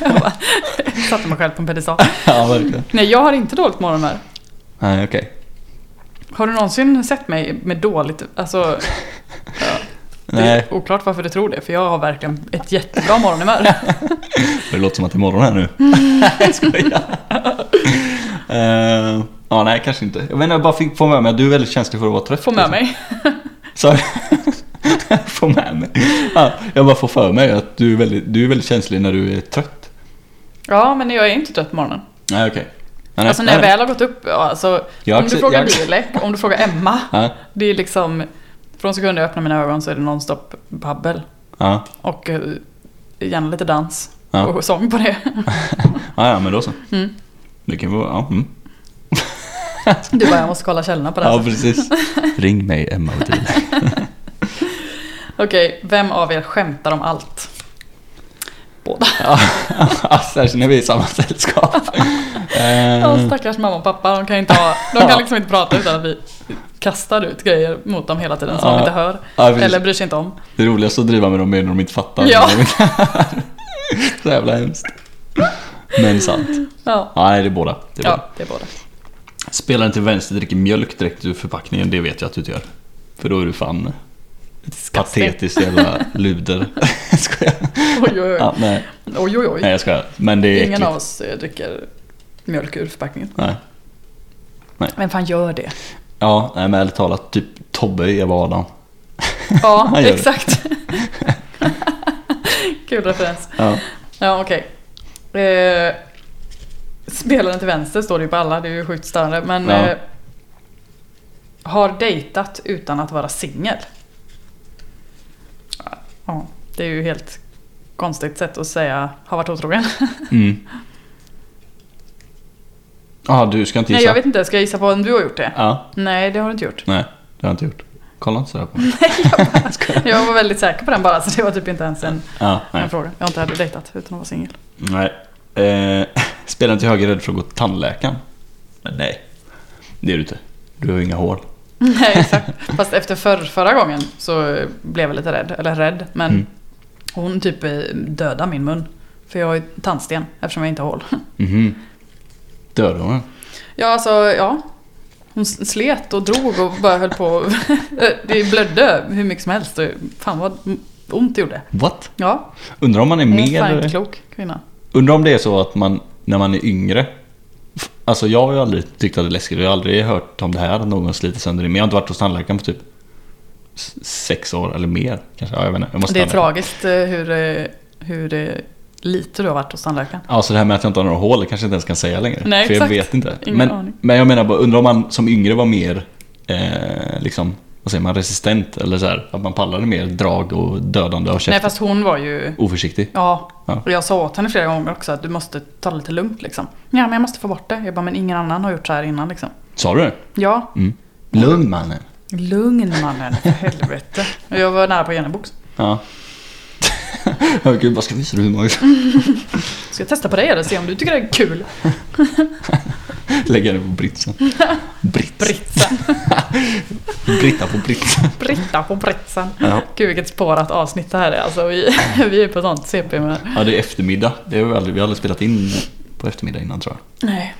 A: jag bara, satte mig själv på en piedestal.
B: [LAUGHS] ja, verkligen.
A: Nej, jag har inte dåligt morgonhumör.
B: Nej, okej.
A: Har du någonsin sett mig med dåligt... Alltså, det
B: Nej,
A: är oklart varför du tror det, för jag har verkligen ett jättebra
B: [LAUGHS]
A: morgonhumör.
B: det låter som att det är morgon här nu. [LAUGHS] jag skojar. Eh, ja, nej, kanske inte. Jag menar, jag bara fick få med mig att du är väldigt känslig för att vara trött.
A: Få med
B: liksom.
A: mig.
B: [LAUGHS] Så, få med mig. Ja, jag bara får för mig att du är, väldigt, du är väldigt känslig när du är trött.
A: Ja, men jag är inte trött på morgonen.
B: Nej, okej. Nej,
A: Alltså när jag
B: nej.
A: väl har gått upp, ja, alltså,
B: Jag
A: om du
B: accep-
A: frågar
B: jag-
A: Dilek, om du frågar Emma,
B: Ja,
A: det är liksom, från sekunden jag öppnar mina ögon så är det nonstop babbel
B: ja,
A: och eh, gärna lite dans
B: Ja.
A: och sång på
B: [LAUGHS]
A: det.
B: ja, ja, men då så.
A: Mm.
B: Det kan vara, ja. Mm.
A: Du bara, jag måste kolla källorna på det här.
B: Ja,
A: [LAUGHS]
B: precis. Ring mig Emma och Tina. [LAUGHS]
A: Okej, vem av er skämtar om allt? Båda.
B: Ja, Särskilt när vi är i samma sällskap.
A: Ja,
B: Eh,
A: stackars mamma och pappa, de kan, inte ha, de kan liksom inte prata utan att vi kastar ut grejer mot dem hela tiden som de
B: Ja.
A: inte hör.
B: Ja, precis.
A: Eller bryr sig inte om.
B: Det roligaste att driva med dem är när de inte fattar.
A: Ja.
B: När de inte [LAUGHS] Så jävla hemskt. Men sant.
A: Ja,
B: Ja, nej, det är båda. Det är båda.
A: ja det är båda.
B: Spelaren till vänster dricker mjölk direkt ur förpackningen, det vet jag att du inte gör. För då är du fan patetiskt jävla luder. [LAUGHS] skojar.
A: Oj, oj, oj.
B: Ja, nej,
A: Oj, oj, oj.
B: nej, jag skojar. Men det är
A: Ingen
B: äckligt.
A: av oss eh, dricker mjölk ur förpackningen.
B: Nej.
A: Vem fan gör det?
B: Ja, nej, men ärligt talat, typ Tobbe i Eva Adam.
A: Ja,
B: Han gör det. [LAUGHS]
A: exakt. Kul referens.
B: Ja.
A: Ja, okej. Eh, spelaren till vänster står det ju på alla, det är ju sjukt störande. Men
B: Ja.
A: eh, har dejtat utan att vara singel. Ja, det är ju helt konstigt sätt att säga har varit otrogen.
B: Mm. Ah, du ska inte gissa?
A: Nej, jag vet inte. Ska jag gissa på om du har gjort det?
B: Ja,
A: Nej, det har du inte
B: [LAUGHS]
A: gjort.
B: nej, det har jag inte gjort. Kolla inte sådär på mig.
A: Jag var väldigt säker på den bara, så det var typ inte ens en,
B: Ja, nej.
A: en fråga. Jag har inte hade dejtat utan att vara singel.
B: nej. Eh, [LAUGHS] spelaren till höger är rädd för att gå till tandläkaren. Men nej, det är du inte. Du har ju inga hål.
A: [LAUGHS] Nej, exakt. Fast efter förr, förra gången så blev jag lite rädd. Eller rädd, men
B: Mm.
A: hon typ eh, dödade min mun. För jag har ju tandsten eftersom jag inte har hål. [LAUGHS]
B: Mhm. Dödade hon den?
A: Ja, alltså ja. Hon slet och drog och [LAUGHS] bara höll på. det blödde hur mycket som helst. och Fan vad ont det gjorde.
B: What?
A: Ja,
B: Undrar om man är
A: hon är fan
B: mer...
A: inte klok kvinna.
B: Undrar om det är så att man, när man är yngre... f- Alltså jag har ju aldrig tyckt att det är läskigt. Jag har aldrig hört om det här, att någon sliter sönder det. Men jag har inte varit hos tandläkaren på typ s- sex år eller mer. Kanske, ja, jag vet inte. Jag måste
A: Det är
B: tandläkaren.
A: tragiskt eh, hur, eh, hur eh, lite du har varit hos tandläkaren.
B: Ja, så Alltså, det här med att jag inte har några hål jag kanske inte ens kan säga längre.
A: Nej,
B: för
A: exakt.
B: jag vet inte.
A: Ingen
B: men,
A: aning.
B: men jag menar bara, undrar om man som yngre var mer, eh, liksom, vad säger man, resistent? Eller så här, att man pallade mer drag och dödande och
A: Nej,
B: käft.
A: fast hon var ju...
B: Oförsiktig.
A: Ja,
B: Ja.
A: och jag sa åt henne flera gånger också att du måste ta det lite lugnt liksom. Ja, men jag måste få bort det. Jag bara, men ingen annan har gjort så här innan liksom.
B: Sa du det?
A: Ja,
B: Mm. Lugn mannen.
A: lugn mannen, för helvete. Och Jag var nära på generbux.
B: Ja. [LAUGHS] Åh Gud, vad ska visa dig hur många
A: Mm. Ska jag testa på dig eller se om du tycker det är kul?
B: lägga det på
A: [LAUGHS]
B: britsen. Brits.
A: Britsen,
B: Britta på britsen.
A: Britta på britsen.
B: Ja.
A: Gud vilket spårat avsnitt det här är. Alltså, vi, [LAUGHS] vi är på sånt CP med.
B: ja, det är eftermiddag. Det har vi, aldrig, vi har aldrig spelat in på eftermiddag innan tror jag.
A: Nej,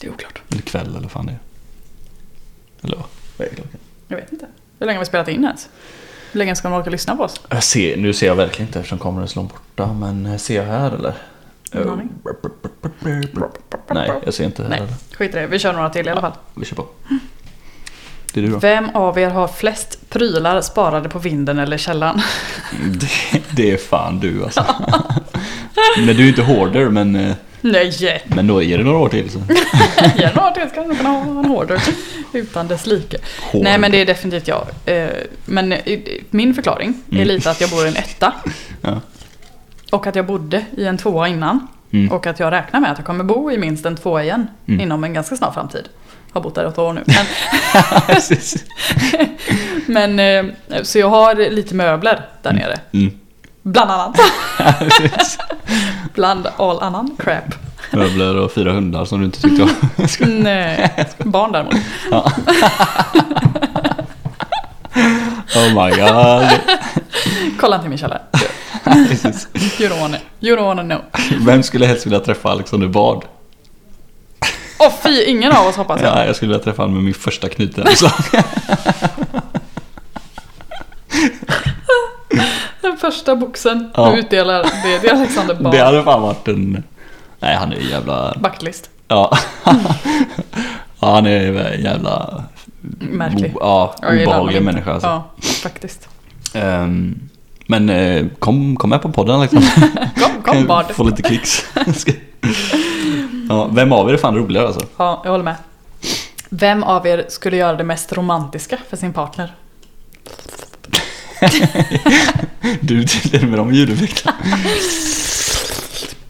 A: det är oklart.
B: Eller kväll eller fan det är. Eller vad? Vad är klockan?
A: Jag vet inte. Hur länge har vi spelat in ens? Hur länge ska de orka lyssna på oss?
B: Jag ser, nu ser jag verkligen inte eftersom kameran är så långt borta, men eh, ser jag här eller?
A: Ingen aning.
B: Nej, jag ser inte här
A: Nej,
B: heller.
A: skit i det. Vi kör några till i alla fall.
B: Vi kör på. Det är du då?
A: Vem av er har flest prylar sparade på vinden eller källan?
B: Det, det är fan du alltså. [LAUGHS] men du är inte hoarder, men, eh,
A: Nej,
B: men då är det några år till. Så.
A: januari ska man kunna ha en hoarder utan dess like. [LAUGHS] Nej men det är definitivt jag. Eh, Men eh, min förklaring är
B: Mm.
A: lite att jag bor i en etta.
B: Ja.
A: Och att jag bodde i en tvåa innan.
B: Mm.
A: Och att jag räknar med att jag kommer bo i minst en tvåa igen
B: Mm.
A: inom en ganska snar framtid. Har bott där åtta år nu. Men, [LAUGHS]
B: [LAUGHS] Precis.
A: men, eh, så jag har lite möbler där nere.
B: Mm.
A: Bland
B: [LAUGHS]
A: annat.
B: Precis.
A: Bland all annan crap.
B: Möbler och fyra hundar som du inte tyckte om. [LAUGHS]
A: Nej, eh, barn däremot.
B: Oh my god.
A: Kolla inte i min
B: [LAUGHS]
A: källare.
B: Precis.
A: You don't wanna, you don't wanna know.
B: Vem skulle helst vilja träffa Alexander Bard?
A: Åh fy, ingen av oss hoppas jag.
B: Ja, jag skulle vilja träffa honom med min
A: [LAUGHS]
B: första knytnävslag.
A: Den första boxen
B: Ja.
A: du utdelar, det är till Alexander Bard.
B: Det hade fan varit en... Nej, han är ju jävla...
A: Backlist.
B: Ja. [LAUGHS] ja, han är ju en jävla...
A: Märklig.
B: O- Ja,
A: Ja, jag gillar honom
B: obehaglig
A: inte.
B: människa alltså.
A: Ja, faktiskt.
B: Ehm, men eh, kom, kom med på podden Alexander.
A: [LAUGHS] Kom, kom Bard.
B: Få lite klicks. [LAUGHS] ja, vem av er är fan roligare alltså?
A: Ja, jag håller med. Vem av er skulle göra det mest romantiska för sin partner?
B: Du tydligen med de ljudeffekterna.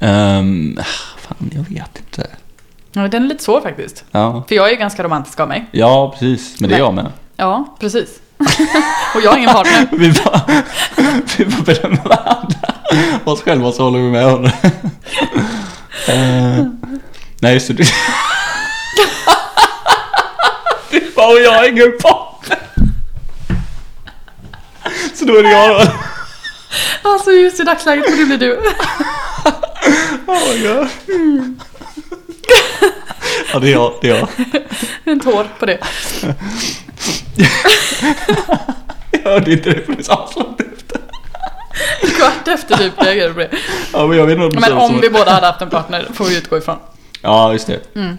B: Ehm, fan, jag vet inte.
A: Ja, den är lite svår faktiskt.
B: Ja,
A: För jag är ju ganska romantisk av mig.
B: ja precis. Men det är jag med.
A: Ja, precis. [LAUGHS] Och jag har ingen partner.
B: Vi bara, vi bara berömmer varandra. Oss själva så håller vi med varandra. Eh, nej, just det. Du Det var och jag har ingen partner. Så då är det jag då.
A: Alltså just i dagsläget får det bli du.
B: Oh my God. Ja, det är jag. Det är jag.
A: En tår på det.
B: Jag hörde inte det förrän du sa så.
A: En kvart efter typ reagerade på det.
B: Ja, men jag vet inte om du
A: Men
B: sa
A: om
B: så.
A: vi båda hade haft en partner får vi utgå ifrån.
B: Ja, just det. Eh,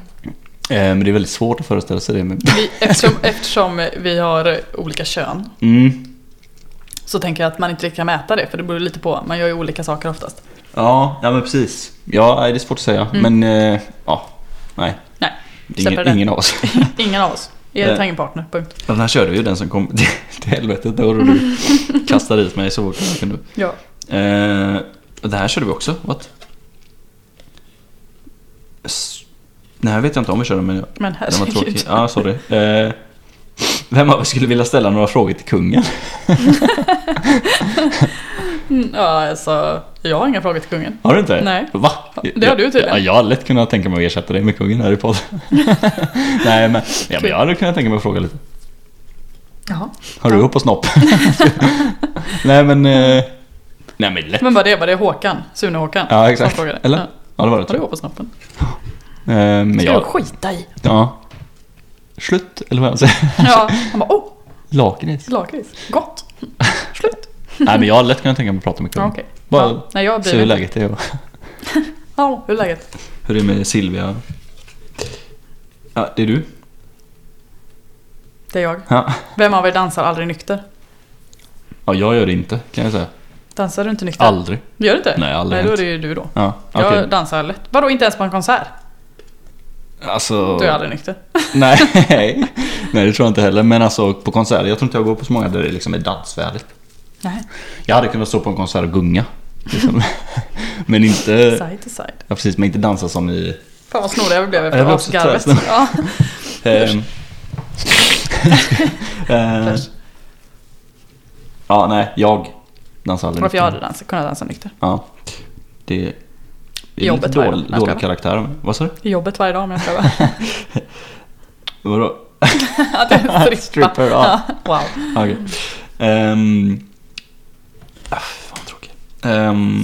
B: men det är väldigt svårt att föreställa sig det. Men...
A: Vi, eftersom, eftersom vi har olika kön
B: Mm.
A: så tänker jag att man inte riktigt kan mäta det för det beror lite på. Man gör ju olika saker oftast.
B: Ja, ja, men precis. Ja, nej, det är svårt att säga. Men eh, ja, nej.
A: Nej,
B: Det är
A: Mm. Släpper det.
B: ingen, ingen av
A: [LAUGHS]
B: oss.
A: ingen av oss. Erik
B: Nej.
A: har ingen partner, punkt.
B: Den här körde ju den som kom till, till helvetet.
A: [LAUGHS]
B: Då du kastade ut mig så fort jag kunde.
A: Ja.
B: Eh, och det här körde vi också. What? S- Nej, jag vet jag inte om vi körde men jag-
A: Men
B: den var tråkig.
A: herregud.
B: Ja, sorry. Eh, vem av er skulle vilja ställa några frågor till kungen?
A: Mm, Ja, alltså, jag har inga frågor till kungen.
B: Har du inte?
A: Nej.
B: Va?
A: det har du tydligen.
B: Ja, jag hade lätt kunnat tänka mig att ersätta dig med kungen här
A: [LAUGHS]
B: i podden. [LAUGHS] Nej, men, ja, men jag hade kunnat tänka mig att fråga lite.
A: Jaha.
B: Har du
A: Ja.
B: upp på snopp? [LAUGHS] Nej, men... Eh, nej, men lätt.
A: Men var det, var det Håkan? Sune-Håkan?
B: Ja,
A: Som
B: exakt.
A: frågade?
B: Eller?
A: Ja.
B: Ja, det var det.
A: Har du
B: tror
A: hår på snoppen?
B: jag. Eh, men
A: Ska jag
B: jag...
A: skita i?
B: Ja. Slut, eller vad jag säger.
A: Ja. Han bara, åh,
B: [LAUGHS] Lakrits.
A: lakrits. Gott. Slut.
B: Nej, men jag hade lätt kunnat tänka mig att prata med
A: Ja,
B: kungen.
A: okej.
B: Bara
A: Ja, nej, jag
B: se hur
A: blir...
B: läget är och
A: Ja, hur är läget?
B: hur det är med Silvia. Ja, det är du.
A: Det är jag.
B: Ja.
A: Vem av er dansar aldrig nykter?
B: ja, jag gör det inte kan jag säga.
A: Dansar du inte nykter?
B: Aldrig.
A: Gör du inte?
B: Nej, aldrig
A: Nej, då är
B: hänt.
A: det ju du då.
B: Ja, okej.
A: Jag dansar lätt. Vadå, inte ens på en konsert?
B: Alltså...
A: Då är jag aldrig nykter.
B: [LAUGHS]
A: [LAUGHS]
B: Nej, nej det tror jag inte heller. Men alltså på konserter, jag tror inte jag går på så många där det liksom är dansvärdigt.
A: Nej,
B: Jag hade kunnat stå på en konsert och gunga.
A: [LAUGHS]
B: Liksom. men inte...
A: side to side.
B: Ja, precis, men inte dansa som i...
A: Fan vad snoriga vi blev
B: Jag blev
A: efter
B: också
A: asgarvet.
B: [LAUGHS] trött.
A: Ja.
B: [LAUGHS] Ehm. Ehm. ja, nej, jag dansar aldrig.
A: Varför jag hade dansat, kunnat dansa nykter.
B: Ja, det... Det är
A: Jobbet
B: lite
A: var jag.
B: dålig,
A: Jag skojar
B: dålig
A: bara.
B: karaktär. Vad sa du?
A: I jobbet varje dag om jag ska vara. [LAUGHS]
B: Vadå?
A: Att
B: [LAUGHS]
A: jag är strippa.
B: Stripper, ja.
A: Wow.
B: Okej.
A: Mm.
B: Ehm, ah, fan tråkig. Ehm,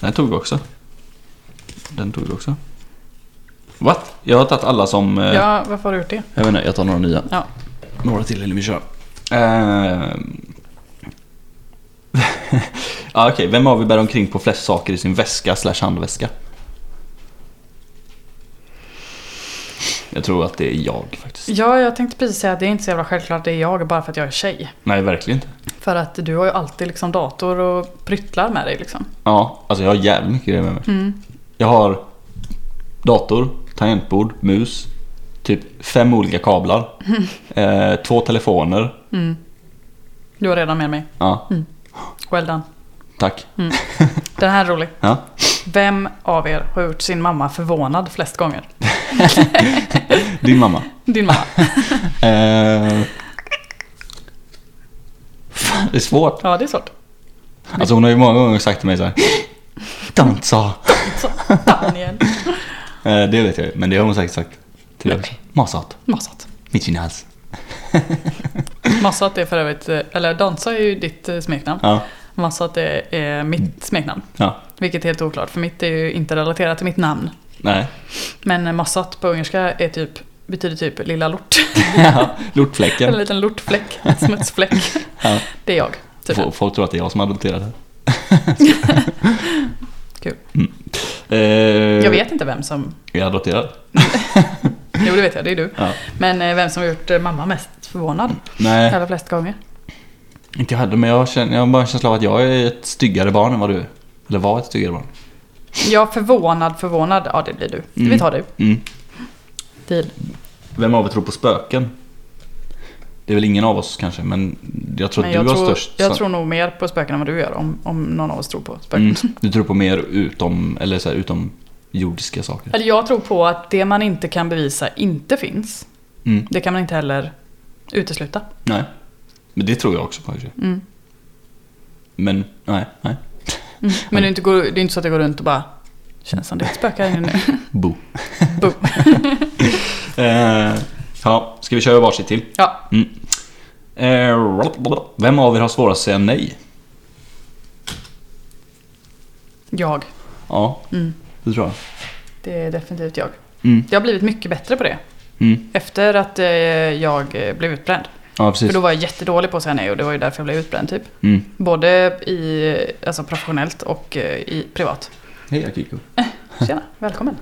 B: den här tog vi också. Den tog vi också. What? Jag har tagit alla som... eh,
A: Ja, varför har du gjort det?
B: Jag vet inte, jag tar några nya.
A: Ja.
B: Några till eller vi kör. [LAUGHS] Ehm. ja, ah, okej. Vem av er bär omkring på flest saker i sin väska slash handväska? Jag tror att det är jag faktiskt.
A: Ja, jag tänkte precis säga att det är inte så jävla självklart det är jag bara för att jag är tjej.
B: Nej, verkligen inte.
A: För att du har ju alltid liksom dator och pryttlar med dig liksom.
B: Ja, alltså jag har jävligt mycket grejer med mig.
A: Mm.
B: Jag har dator, tangentbord, mus, typ fem
A: [LAUGHS]
B: olika kablar, eh, två telefoner.
A: Du har redan med mig.
B: Ja,
A: Well done.
B: tack.
A: Den här är rolig.
B: Ja.
A: Vem av er har gjort sin mamma förvånad flest gånger?
B: Din mamma.
A: Din mamma.
B: Eh, [LAUGHS] fan, det är svårt.
A: Ja, det är svårt.
B: Alltså hon har ju många gånger sagt till mig så här. Dansa.
A: Så, Daniel.
B: Eh, det vet jag ju, men det har hon säkert sagt till
A: Nej.
B: dig också. Masat.
A: Massat.
B: Mitt i din hals.
A: Massat är för övrigt, eh, eller dansa är ju ditt eh, smeknamn.
B: Ja, Mm.
A: Massat är, är mitt smeknamn.
B: ja.
A: Vilket är helt oklart, för mitt är ju inte relaterat till mitt namn.
B: Nej. [LAUGHS]
A: Men eh, massat på ungerska är typ, betyder typ lilla lort.
B: Ja,
A: [LAUGHS] En
B: Lortfläcken.
A: liten lortfläck, en smutsfläck.
B: [LAUGHS] Ja.
A: Det är jag, typ. tydligen.
B: Folk- Folk tror att det är jag som har adopterat det.
A: [LAUGHS] Kul.
B: Mm. Eh,
A: Jag vet inte vem som...
B: Är jag adopterad?
A: Jo, det vet jag, det är du.
B: Ja. Eh.
A: Men eh, vem som har gjort eh, mamma mest förvånad.
B: Nej,
A: Eller flest gånger.
B: inte jag heller. Men jag, känner, jag har bara en känsla av att jag är ett styggare barn än vad du är. Eller var ett styggare barn.
A: Ja, förvånad, förvånad. Ja, det blir du.
B: Mm.
A: Vi tar du.
B: Mm.
A: Deal.
B: Vem av er tror på spöken? Det är väl ingen av oss kanske, men jag tror
A: Men
B: att du
A: jag,
B: har
A: tror,
B: störst.
A: jag
B: san-
A: tror nog mer på spöken än vad du gör. Om, om någon av oss tror på spöken.
B: Mm, du tror på mer utom, eller så här, utom jordiska saker.
A: Eller jag tror på att det man inte kan bevisa inte finns.
B: Mm,
A: Det kan man inte heller utesluta.
B: nej. Men det tror jag också på i och för sig.
A: Mm.
B: Men nej, nej.
A: Men det är, inte går, det är inte så att jag går runt och bara Känns som det är ett spöke här inne nu.
B: Bo.
A: [LAUGHS] Boom.
B: [LAUGHS] Eh, ja, ska vi köra varsitt till?
A: Ja,
B: Mm. Eh, vem av er har svårast att säga nej?
A: [LAUGHS] jag.
B: Ja,
A: Mm.
B: det tror jag.
A: Det är definitivt jag.
B: Mm,
A: Jag har blivit mycket bättre på det.
B: mm.
A: Efter att eh, jag eh, blev utbränd.
B: Ja,
A: För
B: precis.
A: då var jag jättedålig på att säga nej och det var ju därför jag blev utbränd typ.
B: Mm.
A: Både i, eh, alltså professionellt och eh, i privat.
B: Hej Akiko.
A: Tjena, [LAUGHS] välkommen.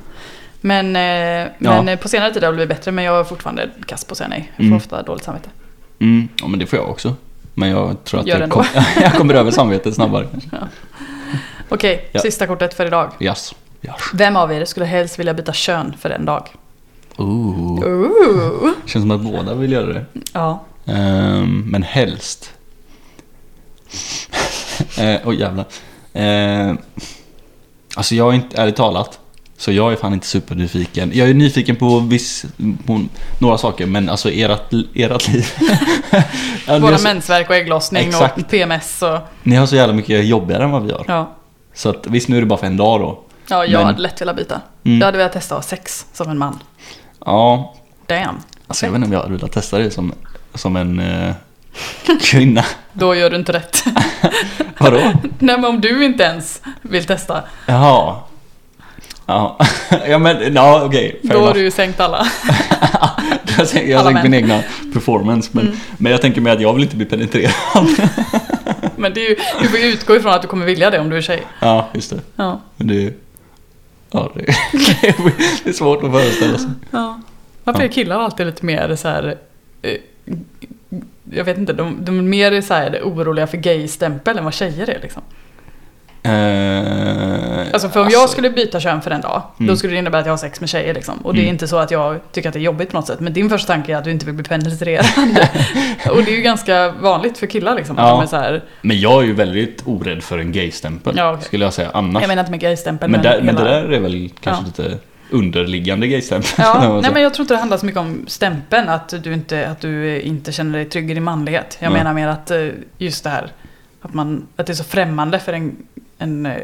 A: Men, eh, men eh, på senare tid har jag blivit bättre men jag är fortfarande kass på att säga nej. Jag får
B: Mm.
A: ofta dåligt samvete.
B: Mm, ja men det får jag också. Men jag tror att
A: Gör
B: jag,
A: det
B: kom, [LAUGHS] jag kommer över samvetet snabbare.
A: Okej,
B: Ja.
A: sista kortet för idag.
B: Yes. Yes.
A: Vem av er skulle helst vilja byta kön för en dag?
B: Ooh.
A: Ooh.
B: Känns som att båda vill göra det.
A: Ja,
B: Ehm, men helst. [LAUGHS] Eh, Oj jävlar. Ehm, alltså jag är inte, ärligt talat. Så jag är fan inte supernyfiken. Jag är nyfiken på, viss, på några saker men alltså erat, erat liv. Ja, ni,
A: våra
B: har så,
A: mensvärk och ägglossning och
B: Exakt.
A: PMS och...
B: ni har så jävla mycket jobbigare än vad vi har.
A: Ja,
B: Så att, visst nu är det bara för en dag då.
A: ja jag
B: Men-
A: hade lätt velat byta.
B: Mm.
A: Jag hade velat testa att ha sex som en man.
B: Ja,
A: Damn.
B: Alltså jag vet inte om jag hade velat testa det som, som en eh, kvinna. [LAUGHS]
A: Då gör du inte rätt. [LAUGHS]
B: Vadå?
A: Nej men om du inte ens vill testa,
B: Jaha. Ja, [LAUGHS] ja men ja, okej. fair
A: då har
B: enough.
A: du ju sänkt alla. [LAUGHS]
B: [LAUGHS] jag tänker- jag har
A: alla
B: tänkt min
A: män. Mm.
B: egna performance. Men, men jag tänker mig att jag vill inte bli penetrerad. [LAUGHS]
A: Men det är ju, du får ju utgå ifrån att du kommer vilja det om du är tjej.
B: Ja, just det.
A: Ja.
B: Men det, ja, det, det är [LAUGHS] svårt att föreställa sig.
A: ja. Varför är killar alltid lite mer så här... eh, Jag vet inte, de, de är mer så här oroliga för gay-stämpel än vad tjejer är liksom.
B: Eh,
A: Alltså för om jag skulle byta kön för en dag, då
B: Mm.
A: skulle det innebära att jag har sex med tjejer liksom. Och det är
B: Mm.
A: inte så att jag tycker att det är jobbigt på något sätt. Men din första tanke är att du inte vill bli
B: [LAUGHS]
A: penetrerad. och det är ju ganska vanligt för killar liksom. att
B: Ja.
A: De är så här,
B: Men jag är ju väldigt orädd för en gay-stämpel.
A: Ja, okej.
B: Skulle jag säga annars.
A: jag menar inte med gay-stämpel,
B: men, där, men det
A: hela-
B: där är väl kanske
A: Ja.
B: lite underliggande gay-stämpel. [LAUGHS] om
A: Ja,
B: man
A: nej
B: säger.
A: men jag tror inte det handlar så mycket om stämpeln, att du inte, att du inte känner dig trygg i din manlighet. Jag
B: Nej.
A: menar mer att eh, just det här, att, man, att det är så främmande för en, en, eh,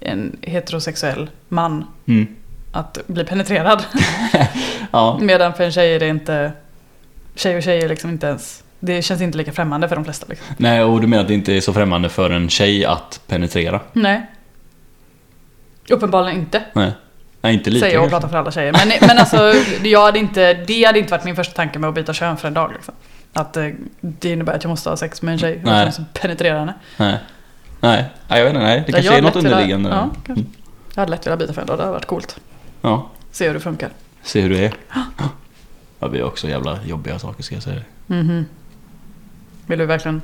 A: en heterosexuell man
B: Mm.
A: att bli penetrerad.
B: Ja,
A: [LAUGHS] Medan för en tjej är det inte, tjej och tjej är liksom inte ens, det känns inte lika främmande för de flesta. Liksom.
B: nej och du menar att det inte är så främmande för en tjej att penetrera?
A: Nej. Uppenbarligen inte.
B: Nej. Nej, inte lika
A: säger jag och
B: kanske.
A: pratar för alla tjejer. Men, men alltså, jag hade inte, det hade inte varit min första tanke med att byta kön för en dag. Liksom. Att eh, det innebär att jag måste ha sex med en tjej.
B: Nej.
A: Nej. Jag måste penetrera henne.
B: Nej. Nej, nej jag vet inte. Nej.
A: Ja,
B: Det
A: jag
B: kanske är
A: hade
B: något
A: lätt velat-
B: underliggande.
A: Ja,
B: där. Mm.
A: kanske. Jag hade lätt velat byta för en dag. Det hade varit coolt.
B: ja.
A: Se hur det funkar.
B: Se hur det är. Ja, vi är också jävla jobbiga saker ska jag säga.
A: Mhm. Vill du verkligen,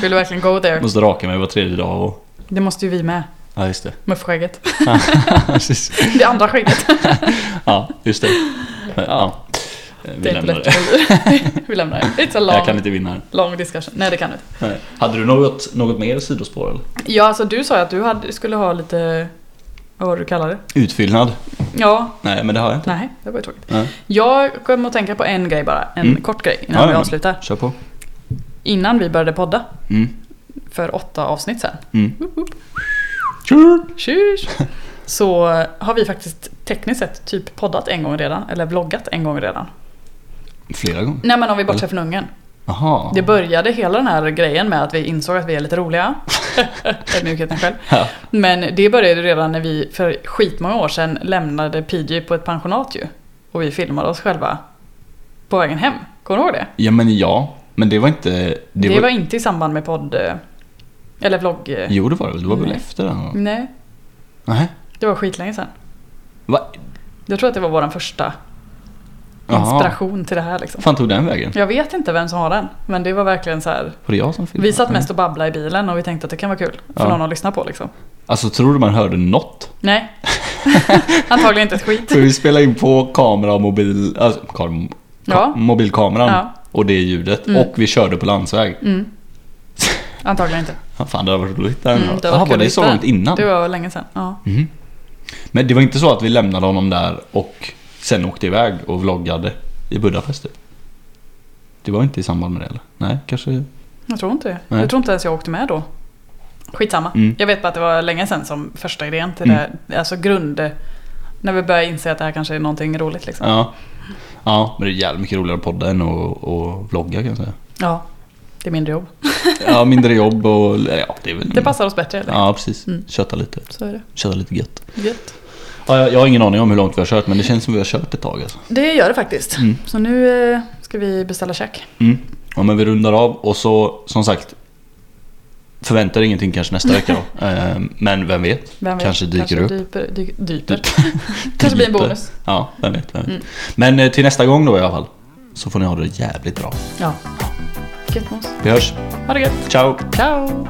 A: vill du verkligen go
B: Jag [LAUGHS]
A: there?
B: måste raka mig var tredje dag och...
A: Det måste ju vi med.
B: Ja,
A: [LAUGHS]
B: just det.
A: Muffskägget.
B: Precis.
A: Det andra skägget.
B: ja, just det. Men, ja.
A: Det
B: Vi
A: är inte
B: lämnar
A: lätt.
B: det.
A: [LAUGHS] Vi lämnar det. It's a
B: Jag kan
A: long,
B: inte vinna här.
A: long discussion. Nej, det kan du inte.
B: Nej. Hade du något, något mer sidospår eller?
A: Ja, alltså du sa ju att du hade, skulle ha lite... Vad var det du kallade det?
B: Utfyllnad?
A: Ja,
B: Nej, men det har jag inte.
A: nej, det var ju tråkigt.
B: Nej.
A: Jag kom att tänka på en grej bara. En
B: Mm.
A: kort grej
B: Ja,
A: innan vi
B: ja.
A: avslutar.
B: Kör på.
A: Innan vi började podda
B: Mm.
A: för åtta avsnitt sedan.
B: Mm.
A: Mm-hmm.
B: Kör! [LAUGHS]
A: Tjus! Så har vi faktiskt tekniskt sett typ poddat en gång redan. Eller vloggat en gång redan.
B: Flera gånger.
A: Nej men om vi bortser från ungen.
B: Jaha.
A: Det började hela den här grejen med att vi insåg att vi är lite
B: [LAUGHS]
A: roliga. Ödmjukheten själv.
B: Ja.
A: Men det började redan när vi för skitmånga år sedan lämnade PJ på ett pensionat ju. Och vi filmade oss själva på vägen hem. Kommer du ihåg det?
B: ja, men ja. Men det var inte... Det,
A: Det,
B: var...
A: var... inte i samband med podd... eh, Eller vlogg...
B: Jo, det var det väl. Det var väl
A: Nej.
B: efter den?
A: Nej,
B: Nej.
A: det var skitlänge sedan.
B: Va?
A: Jag tror att det var vår första
B: Jaha.
A: inspiration till det här liksom.
B: fan tog den vägen?
A: Jag vet inte vem som har den, men det var verkligen så här.
B: Var det jag som filmade?
A: Vi satt mest och babblade i bilen och vi tänkte att det kan vara kul för
B: Ja.
A: någon att lyssna på liksom.
B: Alltså tror du man hörde något?
A: Nej. [LAUGHS] Antagligen inte ett skit.
B: [LAUGHS] För vi spelade in på kamera och mobil, alltså, kam, ka,
A: Ja.
B: mobilkameran
A: Ja.
B: och det ljudet
A: Mm.
B: och vi körde på landsväg.
A: Antagligen inte.
B: Ja, Fan det hade varit roligt. Mm,
A: Mm, det hade
B: Aha,
A: varit
B: var
A: kul
B: det
A: att
B: så
A: hitta.
B: långt innan? Mhm.
A: Det var länge sedan. Ja.
B: Men det var inte så att vi lämnade honom där och sen åkte iväg och vloggade i Budapest typ? Det var inte i samband med det eller? Nej, kanske...
A: Jag tror inte det.
B: Nej.
A: Jag tror inte ens jag åkte med då. Skitsamma.
B: Mm.
A: Jag vet bara att det var länge sedan som första idén till det. Alltså grund... När vi började inse att det här kanske är någonting roligt liksom.
B: Ja. Ja, men det är jävligt mycket roligare att podda än att, att vlogga kan jag säga.
A: Ja. Det är mindre jobb.
B: Ja, mindre jobb och... eller, Ja, det är väl...
A: Det passar oss bättre eller?
B: Ja, precis.
A: Mm.
B: Kötta lite.
A: Så är det.
B: Kötta lite gött.
A: Gött.
B: Ja, jag, jag har ingen aning om hur långt vi har kört men det känns som vi har kört ett tag alltså.
A: Det gör det faktiskt.
B: Mm.
A: Så nu eh, ska vi beställa check.
B: mm. Ja men vi rundar av och så som sagt Förväntar ingenting kanske nästa vecka då. Ehm, Men vem vet?
A: Vem vet?
B: Kanske dyker det upp.
A: kanske dyper, dyker, dyper. [LAUGHS] kanske blir en
B: Dyper.
A: bonus.
B: Ja, vem vet, vem vet. Men eh, till nästa gång då i alla fall. Så får ni ha det jävligt bra.
A: Ja. Gött mos.
B: Vi hörs.
A: Ha det gött.
B: Ciao!
A: Ciao.